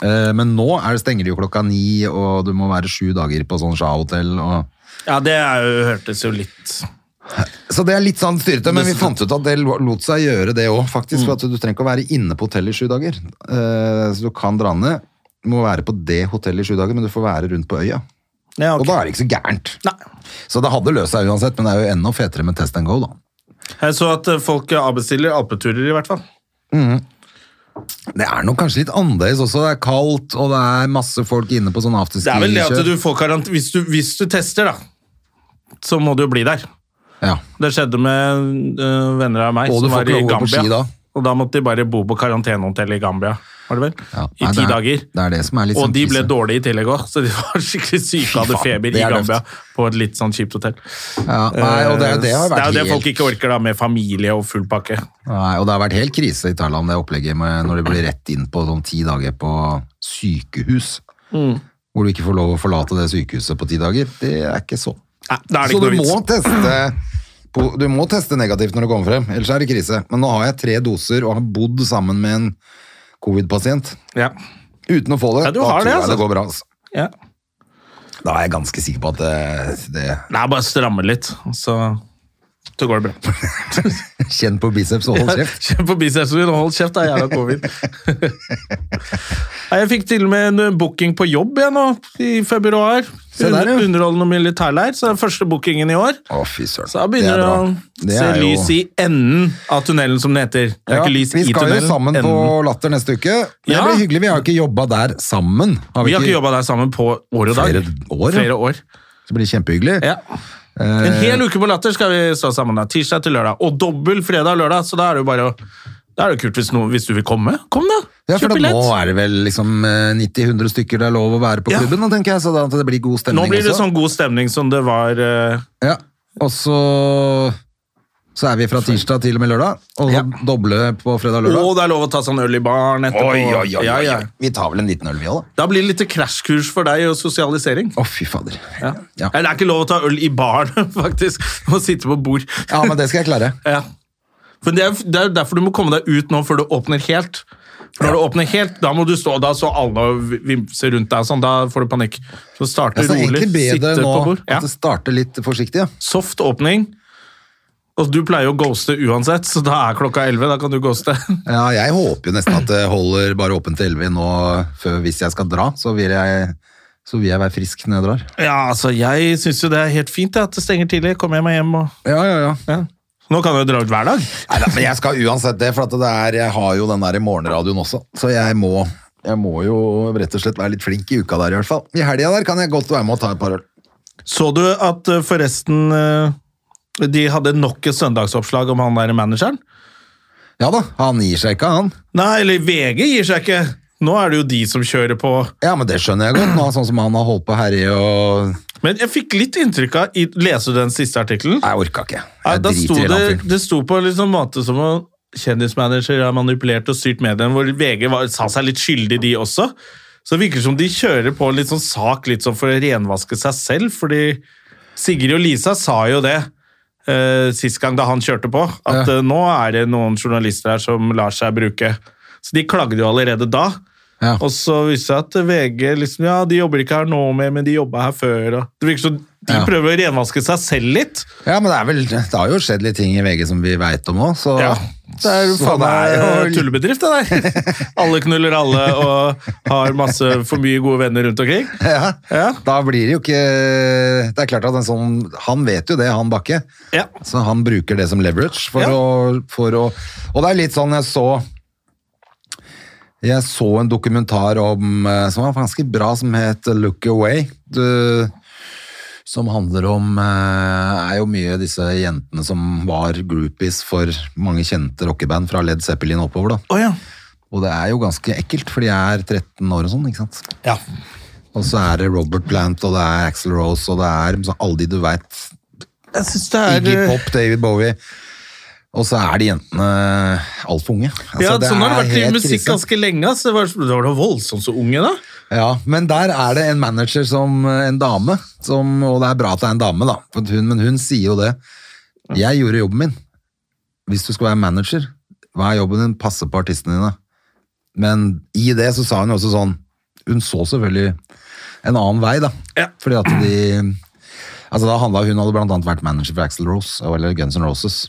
eh, men nå er det stenger de jo klokka ni, og du må være sju dager på sånn Shah-hotell. og-
ja, det er jo, hørtes jo litt
Så det er litt sånn styrete, men vi fant ut at det lo- lot seg gjøre det òg, faktisk.
Mm.
For at du trenger ikke å være inne på hotellet i sju dager. Eh, Så du kan dra ned. Du må være på det hotellet i sju dager, men du får være rundt på øya.
ja,
Og
ok.
da er det ikke så gærent.
Nei.
Så det hadde løst seg uansett, men det er jo enda fetere med test and go, da.
Jeg så at eh, folk avbestiller alpeturer, i hvert fall.
Det er nok kanskje litt annerledes også. Det er kaldt, og det er masse folk inne på sånn afterski.
Det er vel det at du får karant... Hvis du, hvis du tester, da, så må du jo bli der.
Ja.
Det skjedde med øh, venner av meg
Og du
som
får
var
ikke
i
lov å gå på
Gambia.
ski da.
Og da måtte de bare bo på karantenehotell i Gambia, var det vel?
Ja.
I
Nei,
ti
det er-
dager.
Det er det som er litt
Og
sånn
de ble
trist.
dårlige i tillegg òg, så de var skikkelig syke og hadde
Fy faen,
feber
det
i
er
Gambia.
døvt.
På et litt sånn kjipt hotell.
Ja, nei, og det, er- det har
Eh,
vært
det er jo det
helt...
folk ikke orker, da, med familie og full pakke.
Nei, og det har vært helt krise i Thailand, det opplegget med når de blir rett inn på sånn ti dager på sykehus.
Mm.
Hvor du ikke får lov å forlate det sykehuset på ti dager. Det er ikke så.
Nei, da er det
Så
ikke
du
noe
må
vits.
teste på- du må teste negativt når du kommer frem, ellers er det krise. Men nå har jeg tre doser og har bodd sammen med en covid-pasient
Ja.
uten å få det.
Ja, du
da
har det,
tror jeg
altså.
det går bra. Altså.
Ja.
Da er jeg ganske sikker på at det, det
Nei, bare stramme litt, så, så går det bra.
Kjenn på biceps og hold kjeft.
Kjøp på bicepsen din og hold kjeft, da, jævla covid. Nei, jeg fikk til og med en eh, booking på jobb jeg nå, i februar.
Se der, ja.
Under- Underholdende militærleir, så det er første bookingen i år.
Å, fy søren.
Så da begynner det, å se lys i enden av tunnelen, som det heter. Det er ikke lys
vi
i
skal jo
tunnelen.
sammen på
enden.
Latter neste uke. Men
Ja.
Det blir hyggelig. Vi har ikke jobba der sammen.
Vi har ikke jobba der sammen på år og dag.
Flere år, ja. Eh.
Flere år.
Så blir det kjempehyggelig.
Ja. En hel uke på Latter skal vi stå sammen. da, Tirsdag til lørdag. Og dobbel fredag og lørdag, så da er det jo bare å da er det jo kult hvis, noen- hvis du vil komme. Kom, da!
Ja, for
Kjøp
da, nå
billett.
er det vel liksom eh, 90-100 stykker det er lov å være på
Ja.
klubben, nå, tenker jeg, så da, at det blir god
sånn.
stemning
Nå blir det
også.
sånn god stemning som det var eh,
Ja. Og så Så er vi fra tirsdag til og med lørdag, og
Ja.
doble på fredag og lørdag.
Og det er lov å ta seg en øl i baren etterpå. Ja, ja.
Vi tar vel en liten øl, vi òg, da.
Da blir det litt krasjkurs for deg og sosialisering.
Å, fy fader.
Ja.
Ja.
Eller det er ikke lov å ta øl i baren, faktisk. Du må sitte på bord.
ja, men det skal jeg klare.
Ja. For det er, det er derfor du må komme deg ut nå før du åpner helt. Når du åpner helt, da må du stå da så alle og vimser rundt deg, og sånn, da får du panikk. Så starte
Altså, det er
rolig,
egentlig bedre
sitte
nå
på bord. Ja.
at det starter litt forsiktig. Ja.
Soft åpning. Og du pleier jo å ghoste uansett, så da er klokka 11, da kan du ghoste.
ja, jeg håper jo nesten at det holder bare åpent til 11 nå før hvis jeg skal dra. Så vil jeg, så vil jeg være frisk når jeg drar.
Ja, altså, jeg syns jo det er helt fint jeg, at det stenger tidlig. Kommer jeg meg hjem og
Ja, ja, ja.
ja. Nå kan du jo dra ut hver dag.
Neida, men jeg skal uansett det, for at det er, jeg har jo den der i morgenradioen også. Så jeg må, jeg må jo rett og slett være litt flink i uka der, i hvert fall. I helga der kan jeg godt være med og ta et par øl.
Så du at eh, forresten eh, de hadde nok et søndagsoppslag om han der manageren?
Ja da, han gir seg ikke, han.
Nei, eller VG gir seg ikke. Nå er det jo de som kjører på.
Ja, men det skjønner jeg godt, nå, sånn som han har holdt på herje og
Men jeg fikk litt inntrykk av i- Leser du den siste artikkelen?
Nei, Jeg orka ikke.
Ja,
Jeg
da sto
driter i den
det,
fyren.
det sto på en liksom måte som å kjendismanager har manipulert og styrt mediene, hvor VG var, sa seg litt skyldig, de også. Så det virker som de kjører på litt sånn sak litt sånn for å renvaske seg selv, fordi Sigrid og Lisa sa jo det eh, sist gang da han kjørte på, at
Ja.
eh, nå er det noen journalister her som lar seg bruke. Så de klagde jo allerede da.
Ja.
Og så viste det seg at VG liksom, ja, de jobber ikke her nå mer, men de jobba her før. Og det virker som de
Ja.
prøver å renvaske seg selv litt.
ja, men det er vel Det har jo skjedd litt ting i VG som vi veit om òg, så
Ja, det er jo
så
faen meg
det er jo-
tullebedrift, det der. Alle knuller alle og har masse for mye gode venner rundt omkring.
ja.
Ja.
Da blir det jo ikke Det er klart at en sånn Han vet jo det, han Bakke.
Ja.
Så han bruker det som leverage for,
Ja.
å, for å Og det er litt sånn jeg så Jeg så en dokumentar om eh, som var ganske bra, som het Look Away. Du, som handler om eh, er jo mye disse jentene som var groupies for mange kjente rockeband fra Led Zeppelin oppover. da.
Å ja.
Og det er jo ganske ekkelt, for de er 13 år og sånn. ikke sant?
ja.
Og så er det Robert Plant, og det er Axl Rose, og det er så alle de du veit.
Jeg syns det er eh,
Iggy Pop, David Bowie. Og så er de jentene altfor unge. Altså,
ja,
det
Sånn har det
er
vært i
helt
musikk altså.
krise.
ganske lenge. ass. Det var, det var da voldsomt så unge, da.
Ja, men der er det en manager som en dame, som, og det er bra at det er en dame, da. For hun, men hun sier jo det. Jeg gjorde jobben min. Hvis du skal være manager, hva er jobben din? Passe på artistene dine. Men i det så sa hun også sånn Hun så selvfølgelig en annen vei, da.
Ja.
Fordi at de Altså da handla Hun hadde blant annet vært manager for Axel Rose, eller Guns N' Roses.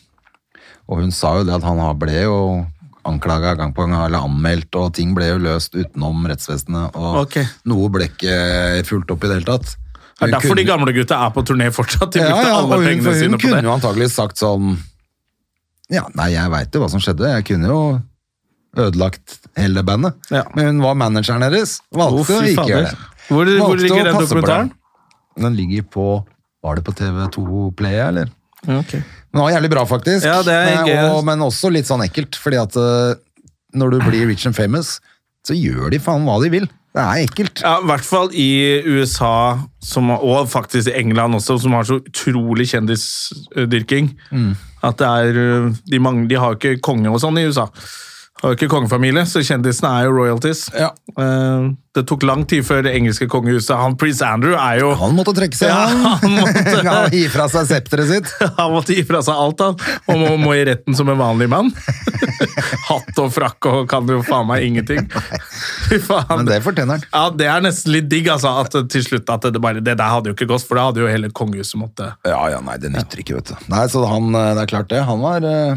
Og hun sa jo det at han har- ble jo anklaga gang på gang, eller anmeldt, og ting ble jo løst utenom rettsvesenet. Og
Ok.
noe ble ikke fulgt opp i det hele tatt.
Det er derfor de
kunne-
gamle gutta er på turné fortsatt. De
ja,
brukte
ja, og
alle
hun,
pengene
for hun
sine på
kunne
det.
jo antageligvis sagt sånn Ja, nei, jeg veit jo hva som skjedde. Jeg kunne jo ødelagt hele bandet.
Ja.
Men hun var manageren deres. Valgte
Å, fy
å ikke
fader.
gjøre det.
Hvor, hvor
Valgte å
ligger den
passe på
dokumentaren?
dem. Den ligger på Var det på TV2 Play, eller?
Ja, ok.
Men det var jævlig bra, faktisk.
Ja, det er
Men-
gøy.
og, men også litt sånn ekkelt, fordi at eh, når du blir rich and famous, så gjør de faen hva de vil. Det er ekkelt.
Ja, I hvert fall i USA, som, og faktisk i England også, som har så utrolig kjendisdyrking. At det er øh, de, mangler, de har jo ikke konge og sånn i USA. Har jo ikke kongefamilie, så kjendisene er jo royalties.
Ja.
Eh, Det tok lang tid før det engelske kongehuset Han prins Andrew er jo
Han måtte trekke seg,
Ja, han måtte-
han gi fra seg septeret sitt.
han måtte gi fra seg alt, han. Og må, må i retten som en vanlig mann. Hatt og frakk og kan jo faen meg ingenting. Fy faen.
Men det fortjener han.
Ja, det er nesten litt digg, altså. At det til slutt at det bare Det der hadde jo ikke gått, for da hadde jo hele kongehuset måtte
Ja, ja, nei, det nytter ikke, vet du. Nei, så han, eh, det er klart det. Han var eh,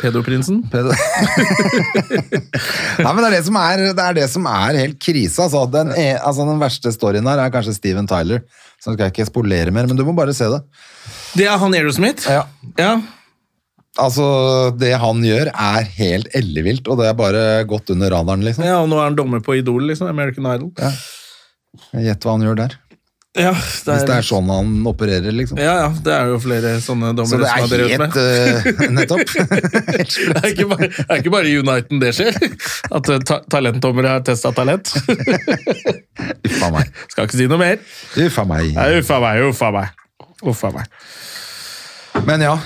Pedoprinsen?
pedo... Nei, men det er det som er, det er, det som er helt krise, altså. Den, e- altså. den verste storyen her er kanskje Steven Tyler. Så skal jeg ikke spolere mer, men du må bare se det.
Det er han Aerosmith?
Ja.
ja.
Altså, det han gjør er helt ellevilt, og det er bare gått under radaren, liksom.
Ja, og nå er han dommer på Idol, liksom. American Idol. Ja,
Gjett hva han gjør der.
det
Hvis det er sånn han opererer, liksom.
Ja, ja, det er jo flere sånne
Så
dommere
det
som har
er
drevet med.
helt eh, Nettopp. Helt
Det er,
sløvt.
ikke bare, det er ikke bare i Uniten det skjer. At eh, ta talentdommere har testa talent.
Uffa meg.
Skal ikke si noe mer.
Uffa meg.
Nei, uffa meg, uffa meg. Uffa meg.
Men ja,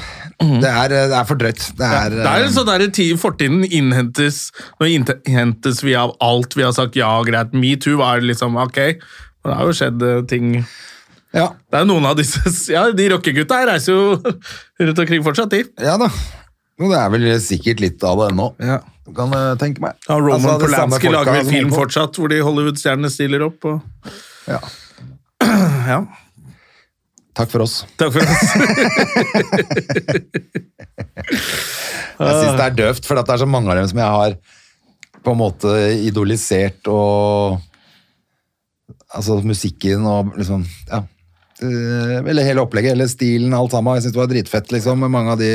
Det, er, det er for drøyt. Det er,
Det er jo sånn der ti- fortiden innhentes Nå innhentes vi av alt vi har sagt ja, greit. Metoo var liksom ok. Men det har jo skjedd eh, ting
ja,
Det er jo noen av disse Ja, de rockegutta her reiser jo rundt omkring fortsatt, de.
ja da. Jo, Det er vel sikkert litt av det ennå,
Ja.
kan jeg tenke meg.
Roman
Altså, det samme
Polanski
folka
lager vel
som
film
holder på.
fortsatt hvor de Hollywood-stjernene stiller opp. Og,
Ja.
ja.
Takk for oss.
Takk for oss.
Jeg syns det er døvt, for at det er så mange av dem som jeg har på en måte idolisert og Altså musikken og liksom Ja. Eh, Eller hele opplegget, eller stilen, alt sammen. Jeg syns det var dritfett, liksom. Men mange av de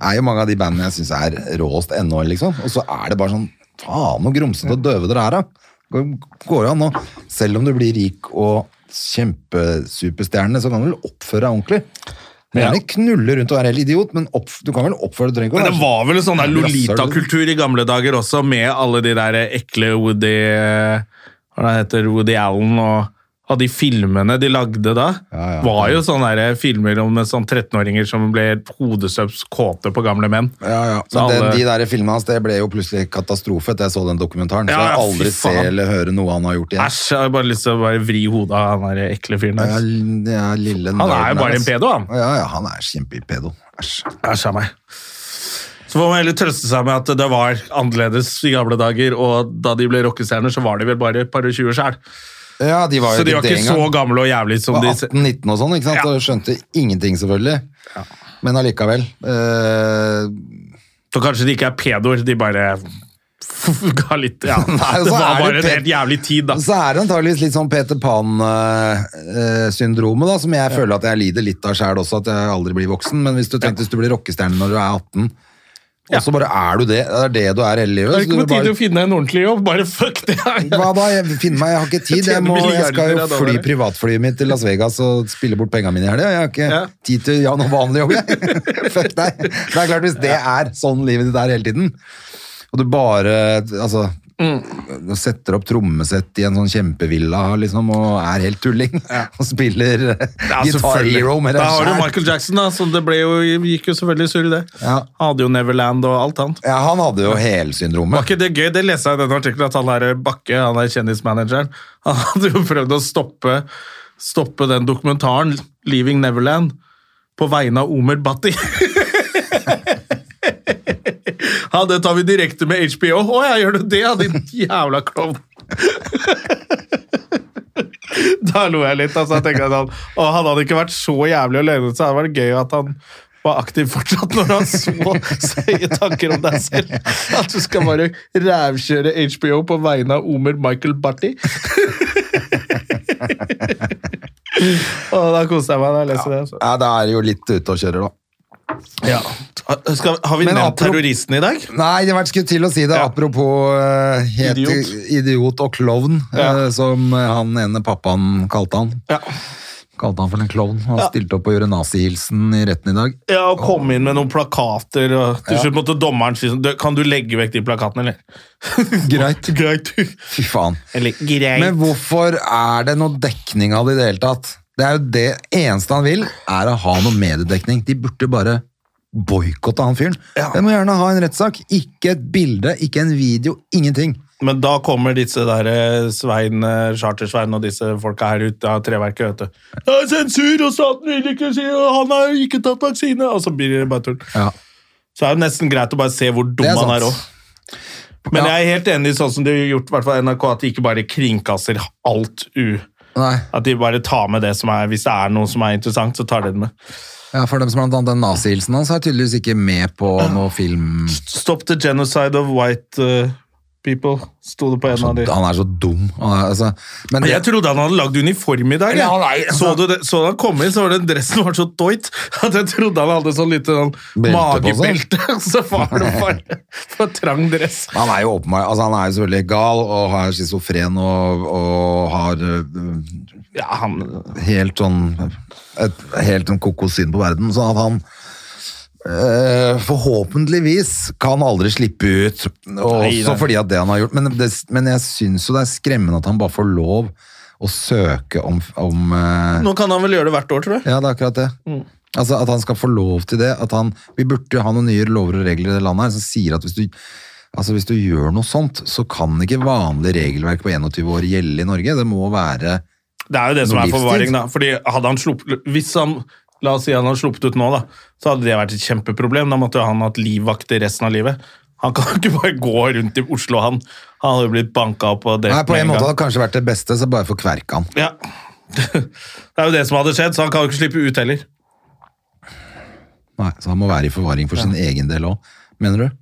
er jo mange av de bandene jeg syns er råest ennå, liksom. Og så er det bare sånn Faen, så grumsete og døve dere er, da. Går- Går jo an nå. Selv om du blir rik og kjempesuperstjerne, så kan du vel oppføre deg ordentlig. Du kan Gjerne knulle rundt og være helt idiot, men opp, du kan vel oppføre deg du trenger ikke å
Men det
være-
var vel en sånn der
Rasshøl, liksom.
Lolita-kultur i gamle dager også, med alle de der ekle Woody Hva det heter Woody Allen og, og de filmene de lagde da.
Ja, ja.
Var jo sånne der filmer om sånn 13-åringer som ble hodestøps kåte på gamle menn.
Ja, ja.
Så
Men den,
alle-
de der filmene hans, det ble jo plutselig katastrofe etter jeg så den dokumentaren.
Ja,
så jeg
ja,
har
fy
aldri
faen.
se eller høre noe han har gjort igjen.
Æsj, jeg har bare lyst til å bare vri hodet av han der ekle fyren
Ja,
der.
det er lille
Han er
nerden
jo bare
her,
en
ass.
pedo, han.
Ja, ja, han er kjempepedo. Æsj.
Æsj av meg. Så får man heller trøste seg med at det var annerledes i gamle dager, og da de ble rockestjerner, så var de vel bare et par og tjue sjæl.
Ja, de var jo
Så de var
det
ikke
engang.
så gamle og jævlig som
var
de
18-19 og sånn, ikke sant?
Ja.
Og skjønte ingenting, selvfølgelig. Men allikevel. Eh,
Så kanskje de ikke er pedoer, de bare ga litt ja.
Nei, og så
Det var
er
bare en
det ped-
helt jævlig tid, da.
så er det antageligvis litt sånn Peter Pan-syndromet, da, som jeg føler at jeg lider litt av sjæl også, at jeg aldri blir voksen. Men hvis du tenker hvis du blir rockestjerne når du er 18,
Ja.
og så bare er du det, det er det du er hele livet.
Det er
så
ikke
du
på
bare-
tide å finne en ordentlig jobb. Bare fuck det her!
Hva da? Jeg finner meg, jeg har ikke tid.
Jeg
Jeg,
tjener
må, jeg skal
milliarder
jo
av dollar.
fly privatflyet mitt til Las Vegas og spille bort pengene mine i helga. Jeg har ikke
Ja.
tid til å gjøre noe vanlig jobb, jeg. Fuck deg. Det er klart, hvis det er sånn livet ditt er hele tiden, og du bare altså,
Mm.
du setter opp trommesett i en sånn kjempevilla liksom, og er helt tulling, og spiller eh,
Ja,
Guitar
selvfølgelig.
Hero med
Da
deg
har du
selv.
Michael Jackson, da, som det ble jo, gikk jo selvfølgelig surr i det.
Ja.
Han hadde jo Neverland og alt annet.
Ja, han hadde jo helsyndromet.
Var ikke det gøy? Det leste jeg i denne artikkelen, at han der Bakke, han der kjendismanageren, han hadde jo prøvd å stoppe, stoppe den dokumentaren, 'Leaving Neverland', på vegne av Omer Bhatti. Ja, det tar vi direkte med HBO. Å ja, gjør du det, ja, din jævla klovn? da lo jeg litt. altså, jeg tenkte sånn, å, Han hadde ikke vært så jævlig å løgne seg. Det var gøy at han var aktiv fortsatt når han så søye tanker om deg selv. At du skal bare rævkjøre HBO på vegne av Omer Michael Barty. og da koste jeg meg da jeg leste det. altså.
Ja, da er det jo litt ute og kjører, da.
Skal, har vi
Men
nevnt
apro-
terroristen i dag?
Nei, det var skulle til å si det.
Ja.
Apropos eh, het,
Idiot.
idiot. og klovn,
Ja.
eh, som eh, han ene pappaen kalte han.
Ja.
Kalte han for en klovn. Han stilte opp og gjorde nazihilsen i retten i dag.
Ja, og kom inn med noen plakater, og til slutt måtte dommeren si sånn «Du, Kan du legge vekk de plakatene, eller?
Greit.
Greit.
Fy faen.
Eller greit.
Men hvorfor er det noe dekning av det i det hele tatt? Det er jo det eneste han vil, er å ha noe mediedekning. De burde bare boikotte han fyren. De må gjerne ha en rettssak. Ikke et bilde, ikke en video, ingenting.
Men da kommer disse der eh, Svein, eh, Charter-Svein og disse folka her ut av treverket, vet du. Det er sensur, og staten vil ikke si og han har ikke tatt vaksine! Og så blir det bare tull.
Ja.
Så er det nesten greit å bare se hvor dum
Det er
han er
sant.
òg. Men
Ja.
jeg er helt enig i sånn som de har gjort, i hvert fall NRK, at de ikke bare kringkaster alt u...
Nei.
At de bare tar med det som er Hvis det er noe som er interessant, så tar de det med.
Ja, for dem som har tatt den nazihilsen hans, er tydeligvis ikke med på noe film.
Stop the genocide of white uh, people, sto det på en av de.
Han er så dum. Han er, altså, men det,
Jeg trodde han hadde lagd uniform i dag. jeg.
Ja, nei, altså.
Så du det, så han kom inn, så var den dressen var så tøyt at jeg trodde han hadde sånn lite sånn
Belte på seg.
magebelte. Så var det bare for trang dress.
han er jo åpenbart altså, Han er jo selvfølgelig gal og er schizofren og, og har øh,
Ja, han,
helt sånn et, Helt sånn kokosyn på verden. Sånn at han øh, forhåpentligvis kan aldri slippe ut, og
Nei,
også
nei.
fordi at det han har gjort. Men, det, men jeg syns jo det er skremmende at han bare får lov å søke om, eh, om øh,
nå kan han vel gjøre det hvert år, tror jeg. Mm.
Ja, det er akkurat det. Altså At han skal få lov til det. At han, vi burde jo ha noen nye lover og regler i det landet her som sier at hvis du, altså hvis du gjør noe sånt, så kan ikke vanlig regelverk på 21 år gjelde i Norge. Det må være
Det er jo det som
Noe
er forvaring,
livstid.
da. Fordi hadde han sluppet, hvis han, La oss si han hadde sluppet ut nå, da. Så hadde det vært et kjempeproblem. Da måtte jo han hatt livvakt i resten av livet. Han kan jo ikke bare gå rundt i Oslo, han. Han hadde jo blitt banka opp og drept
Nei, På
med
en måte
gang.
hadde det kanskje vært det beste, så bare få kverka han.
Ja. Det er jo det som hadde skjedd, så han kan jo ikke slippe ut heller.
Nei, Så han må være i forvaring for sin egen del òg, mener du?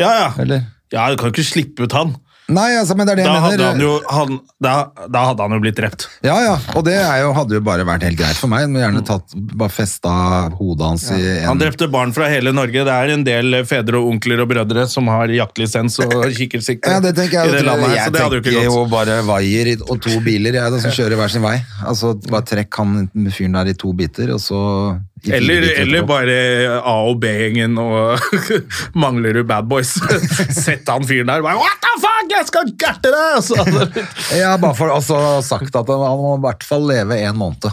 Ja, ja.
Eller?
Ja, Du kan jo ikke slippe ut han.
Nei, altså, men det er det
Da
jeg mener.
hadde han jo, han, da, da hadde han jo blitt drept.
Ja, ja, og det er jo, hadde jo bare vært helt greit for meg. Men gjerne tatt, bare festa hodet hans i
Han
en
drepte barn fra hele Norge. Det er en del fedre og onkler og brødre som har jaktlisens og kikkertsikte
ja, det tenker jeg.
i det landet her, så
jeg
det hadde jo ikke
tenker
gått.
jo bare vaier i- og to biler jeg, da, som kjører hver sin vei. Altså, Bare trekk han fyren der i to biter, og så i fire
Eller,
biter
eller
etterpå.
bare A- og B-gjengen og mangler du bad boys. Sett han fyren der bare What the fuck, jeg skal gerte deg! Så, hadde det blitt-
Ja, bare for også sagt at han må i hvert fall leve en måned.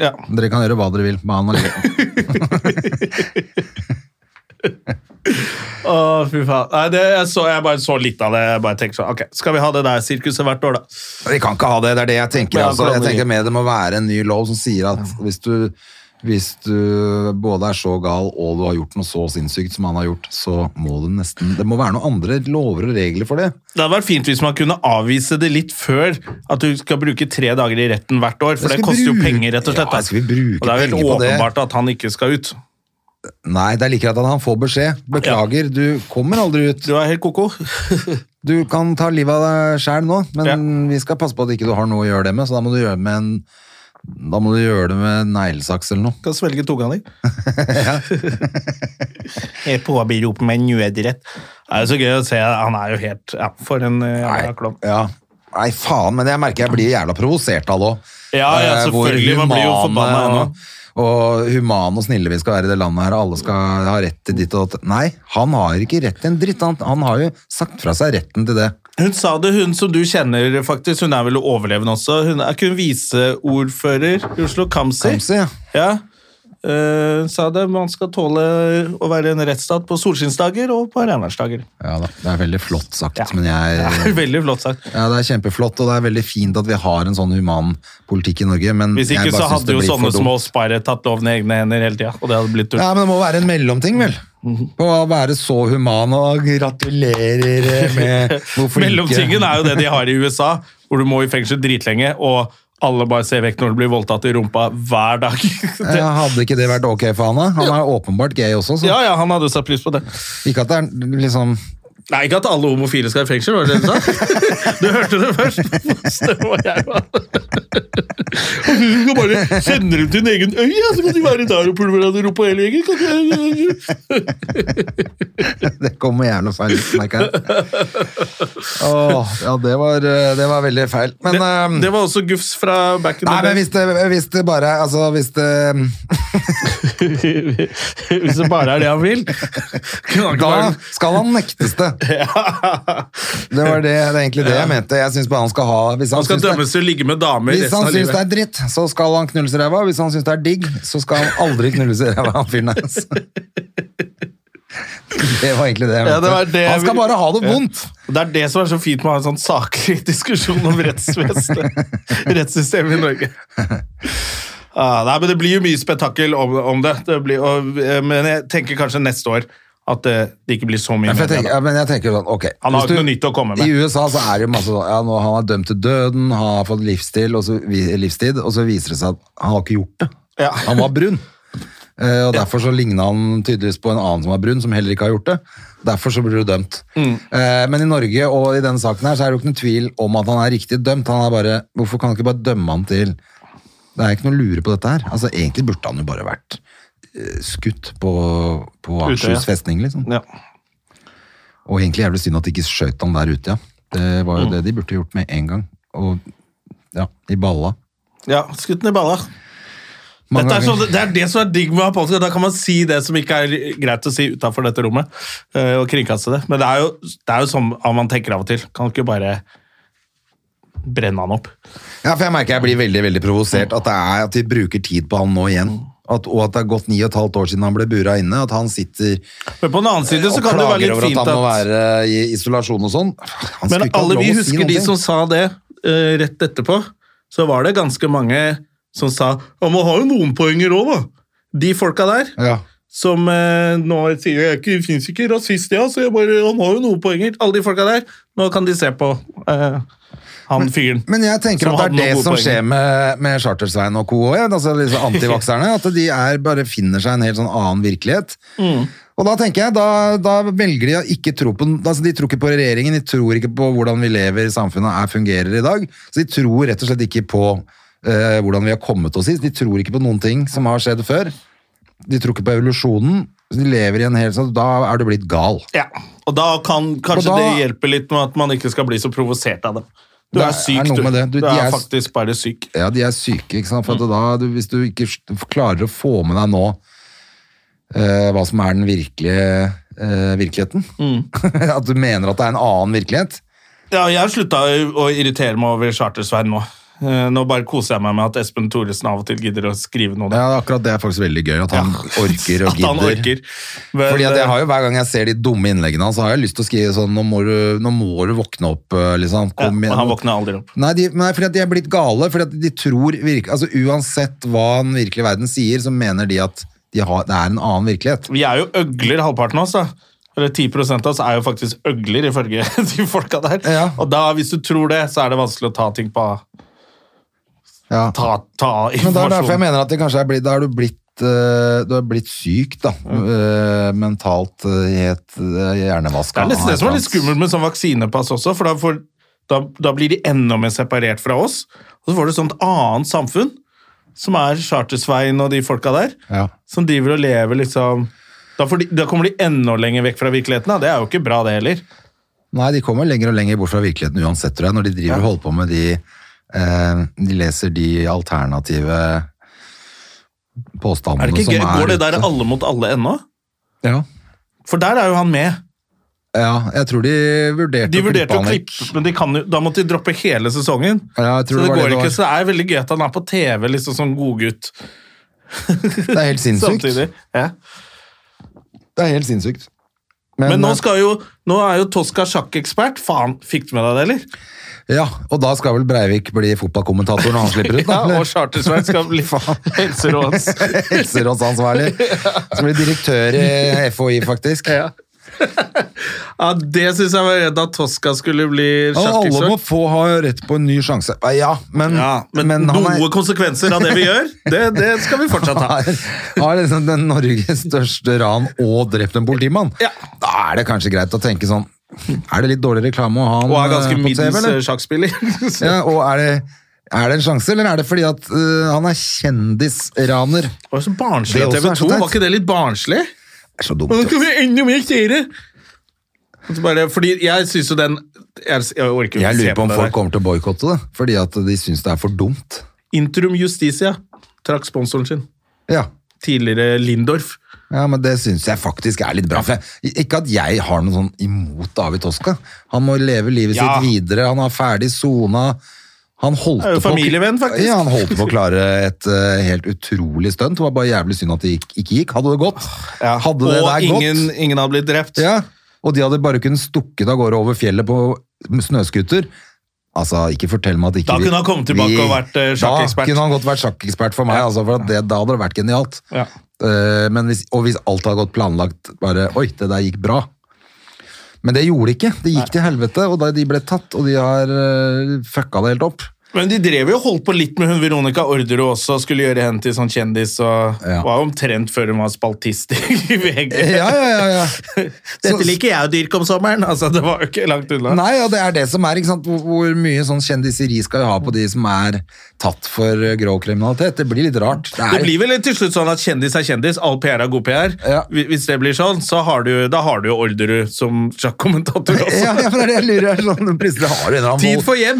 ja.
Dere kan gjøre hva dere vil med han. alene.
Å, fy faen. Nei, det, jeg, så, jeg bare så litt av det. Jeg bare tenkte sånn, ok, Skal vi ha det der sirkuset hvert år, da?
Vi kan ikke ha det, det er det jeg tenker.
Men han
Altså. Jeg
blander
tenker
i.
mer Det må være en ny lov som sier at hvis du, hvis du både er så gal og du har gjort noe så sinnssykt som han har gjort, så må du nesten Det må være noen andre lover og regler for det.
Det hadde vært fint hvis man kunne avvise det litt før at du skal bruke tre dager i retten hvert år, for
Skal
det
vi
koster jo
bruke-
penger, rett og slett.
Ja,
da.
skal vi bruke
og det er
penger
vel
på det?
åpenbart at han ikke skal ut.
Nei, det er like greit at han får beskjed. Beklager, du kommer aldri ut.
Du er helt ko-ko.
Du kan ta livet av deg sjæl nå, men
Ja.
vi skal passe på at ikke du har noe å gjøre det med, så da må du gjøre det med en da må du gjøre det med neglesaks eller noe.
Kan svelge tunga di. Jeg påberoper meg nødrett. Det er jo så gøy å se. Han er jo helt Ja, for en eh, jævla klovn.
ja. Nei, faen, men jeg merker jeg blir jævla provosert av det Eh, òg.
Ja, ja, selvfølgelig, man blir jo forbanna ennå.
Og humane og snille vi skal være i det landet her, og alle skal ha rett til ditt og datt. Nei, han har ikke rett til en dritt. Han, han har jo sagt fra seg retten til det.
Hun sa det, hun som du kjenner, faktisk. Hun er vel overlevende også. Hun er ikke hun viseordfører i Oslo, Kamzy.
Kamzy, ja.
Ja. Eh, Hun sa det, man skal tåle å være en rettsstat på solskinnsdager og på regnværsdager.
Ja da, det er veldig flott sagt,
Ja.
men jeg
Veldig flott sagt.
ja, Det er kjempeflott, og det er veldig fint at vi har en sånn human politikk i Norge, men
Hvis
jeg
ikke
bare
så
synes
hadde
det
jo
blir for
sånne
dumt.
små sparre tatt loven i egne hender hele tida, og det hadde blitt tull.
Ja, men det må være en mellomting, vel?
Mhm.
På å være så human og gratulerer med hvor flinke
Mellomtingen er jo det de har i USA, hvor du må i fengsel dritlenge, og alle bare ser vekk når du blir voldtatt i rumpa hver dag. Det,
Ja, hadde ikke det vært ok for han da? Han er åpenbart gay også, så
ja, ja, han hadde jo satt pris på det.
ikke at det er liksom
Nei, ikke at alle homofile skal i fengsel, var det det du sa? Du hørte det først. Det var jeg, da. Og Du skal bare sende dem til en egen øy, ja, så kan de være der og pulveradere rumpa hele gjengen. Kan ikke-
Det kommer jævla feil ut, merker jeg. Åh, ja, det var, eh, det var veldig feil. Men,
Det,
eh,
det var også gufs fra back in
nei,
the
men
day.
hvis det, hvis det bare Altså, hvis det
Hvis det bare er det han vil. Kunne han ikke
Da
bare-
skal han nektes det. Det var det, det er egentlig det jeg mente. Jeg synes bare han skal ha Hvis han,
Han skal
synes det-
dømmes til å ligge med damer
Hvis
resten
han
av
syns det
livet.
er dritt, så skal han knulles i ræva. Hvis han syns det er digg, så skal han aldri knulles i ræva, han fyren der. altså. Det var egentlig det jeg
Ja, det
mente.
var det jeg
han skal
vil-
bare ha det vondt!
Det er det som er så fint med å ha en sånn saklig diskusjon om rettsvesenet. rettssystemet i Norge. Ah, nei, men Det blir jo mye spetakkel om, om det, det blir, og, eh, men jeg tenker kanskje neste år at det, det ikke blir så mye.
Ja, for
med det,
jeg tenker,
da.
ja, men jeg tenker sånn, ok
Han har
hvis
ikke noe nytt å komme med.
I USA så er det jo masse sånn ja, nå, Han er dømt til døden, han har fått livsstil, og så, vi- livstid, og så viser det seg at han har ikke gjort det.
Ja.
Han var brun. Eh, og Derfor så lignet han tydeligvis på en annen som var brun, som heller ikke har gjort det. Derfor så blir du dømt.
Mm.
Eh, men i Norge og i denne saken her, så er det jo ikke noen tvil om at han er riktig dømt. Han er bare, Hvorfor kan han ikke bare dømme han til Det er ikke noe å lure på dette her. Altså, Egentlig burde han jo bare vært eh, skutt på, på
Utøya.
Akershus festning, liksom.
Ja.
Og egentlig jævlig synd at de ikke skjøt han der ute, ja. Det var
Mm.
jo det de burde gjort med en gang. Og ja, i balla.
ja, skutt den i balla.
Mange
Dette er
ganger.
sånn, det er det som er digg med å ha podcast, Da kan man si det som ikke er greit å si utenfor dette rommet, eh, og kringkaste det. Men det er jo, det er jo sånn man tenker av og til. Kan ikke bare brenne han opp.
Ja, for jeg merker jeg blir veldig, veldig provosert at, det er, at de bruker tid på han nå igjen. At, og at det har gått ni og et halvt år siden han ble bura inne. At han sitter
Men på den annen side så
og
kan det være
klager
litt
over at
fint
han må
at
være i isolasjon og sånn. Han skulle
Men
ikke hatt
alle
lov
vi
å si
husker
noen
de
ting.
som sa det eh, rett etterpå. Så var det ganske mange som sa Ja, man har jo noen poenger òg, da. De folka der
ja.
som eh, nå sier jeg er ikke, finnes ikke rasist, ja, så jeg bare, han har jo noen poenger. Alle de folka der. Nå kan de se på eh, han fyren.
Men jeg tenker
Som
at
hadde
det
noen
er det
gode
som
poenger.
skjer med, med Charter-Svein og co. også, ja. Altså liksom antivakserne. At de er, bare finner seg en helt sånn annen virkelighet.
Mm.
Og da tenker jeg, da, da velger de å ikke tro på den- altså De tror ikke på regjeringen, de tror ikke på hvordan vi lever i samfunnet og er, fungerer i dag. Så de tror rett og slett ikke på eh, hvordan vi har kommet oss hit. De tror ikke på noen ting som har skjedd før. De tror ikke på evolusjonen. Så de lever i en hel sånn Da er du blitt gal.
Ja. Og da kan kanskje
Og da-
det hjelpe litt med at man ikke skal bli så provosert av dem. Du
Det
er
er
syk,
noe
du.
med det.
Du,
Du- de
er
er-
faktisk bare syk.
Ja, de er syke, ikke sant? For
Mm.
at da, du, hvis du ikke s- klarer å få med deg nå eh, hva som er den virkelige eh, virkeligheten,
Mm.
at du mener at det er en annen virkelighet,
Ja, jeg slutta å irritere meg over Charter-Svein nå. Eh, Nå bare koser jeg meg med at Espen Thoresen av og til gidder å skrive noe.
ja, akkurat det er faktisk veldig gøy, at han orker og
At han
gidder.
orker. Men,
Fordi at jeg
eh,
har jo Hver gang jeg ser de dumme innleggene hans, så har jeg lyst til å skrive sånn Nå må du, nå må du våkne opp, eh, liksom.
ja,
Kom igjen.
Han våkner aldri opp.
Nei, de, nei, fordi at de er blitt gale. Fordi at de tror virke, altså Uansett hva den virkelige verden sier, så mener de at de har, det er en annen virkelighet.
Vi er jo øgler, halvparten av oss. da. Eller 10 av oss er jo faktisk øgler, ifølge de folka der.
Ja.
Og da, hvis du tror det, så er det vanskelig å ta ting på
Ja.
Ta, ta
Men det er derfor jeg
informasjon.
mener at det kanskje er blitt, da er du blitt eh, du er blitt syk, da. Eh, mentalt eh, helt uh,
Det
hjernevaska.
er nesten det som er litt skummelt med sånn vaksinepass også, for da, får, da, da blir de enda mer separert fra oss. Og så får du et sånt annet samfunn, som er Chartersveien og de folka der,
Ja.
som driver og lever liksom da, får de, da kommer de enda lenger vekk fra virkeligheten. Da. Det er jo ikke bra, det heller.
Nei, de kommer lenger og lenger bort fra virkeligheten uansett, tror jeg, når de driver og holder på med de eh, De leser de alternative påstandene
Er det ikke
som
gøy?
er
Går det der
ute.
alle mot alle ennå?
Ja.
For der er jo han med.
ja, jeg tror de vurderte
De vurderte å
han vekk.
klippe, men de kan jo, da måtte de droppe hele sesongen.
Ja, jeg
Så
tror
det
det var
går
det det
ikke,
var.
så det er veldig gøy at han er på TV liksom som godgutt
Det er helt sinnssykt.
samtidig. Ja.
Det er helt sinnssykt.
Men nå,
eh,
skal jo, nå er jo Tosca sjakkekspert. Faen, fikk du med deg det, eller?
Ja, og da skal vel Breivik bli fotballkommentator når han slipper ut, da?
Ja,
eller?
og Chartersveien skal bli helseråds.
Helserådsansvarlig. Som blir direktør i FHI, faktisk.
Ja, det syns jeg var redd at Tosca skulle bli
Og alle må
sjakkekspert.
få ha rett på en ny sjanse. Eh, Ja, men,
Ja, men,
men han
noe
er,
konsekvenser av det vi gjør, det, det skal vi fortsatt ha.
har, har liksom den Norges største ran og drept en politimann.
Ja.
Da er det kanskje greit å tenke sånn Er det litt dårlig reklame å ha han
Og er
eh,
ganske
på TV,
middels eh,
eller?
sjakkspiller. Så-
Ja, og er det, er det en sjanse, eller er det fordi at eh, han er kjendisraner?
Det var så barnslig
Det
av TV
også er
2.
så teit.
Var ikke det litt barnslig?
Det er så dumt.
Og nå
jo.
kan vi enda mer seere! Og så Bare, fordi jeg syns jo den Jeg, jeg orker ikke
Jeg
se
lurer på om
det
folk
der.
kommer til å boikotte det, fordi at de syns det er for dumt.
Intrum Justicia trakk sponsoren sin.
Ja,
Tidligere Lindorf.
Ja, men det syns jeg faktisk er litt bra. For jeg, ikke at jeg har noe sånn imot David Toska. Han må leve livet
Ja.
sitt videre, han har ferdig sona. Han holdt
Er jo
på å-
familievenn, faktisk.
Ja, han holdt på å klare et eh, helt utrolig stunt. Det var bare jævlig synd at det gikk, ikke gikk. Hadde det gått, hadde det
og
der
ingen,
gått.
ingen hadde blitt drept.
Ja, og de hadde bare kunnet stukket av gårde over fjellet på snøskuter. Altså, ikke fortell meg at ikke
Da kunne han kommet tilbake
vi-
og vært, eh, sjakkekspert.
Da kunne han godt vært sjakkekspert for meg, altså, for at det, da hadde det vært genialt.
Ja.
Eh, men hvis, og hvis alt hadde gått planlagt, bare Oi, det der gikk bra. Men det gjorde det ikke. Det gikk til helvete, og da de ble tatt, og de har eh, fucka det helt opp.
Men de drev jo og holdt på litt med hun Veronica Orderud også, skulle gjøre henne til sånn kjendis. og
Ja.
Var jo omtrent før hun var spaltist i VG.
Ja, ja, ja, ja.
Dette liker jeg å dyrke om sommeren! Altså, Det var jo ikke langt unna.
Nei, og det er det som er, ikke sant? Hvor, hvor mye sånn kjendiseri skal vi ha på de som er tatt for eh, grov kriminalitet? Det blir litt rart. Det er,
Det blir vel til slutt sånn at kjendis er kjendis, all PR er god PR.
Ja.
Hvi- Hvis det blir sånn, så har du, da har du jo Orderud som sjakk-kommentator også.
ja, ja, for det er det jeg lurer på. Sånn, plutselig har du en eller annen
Tid
vold-
for hjem!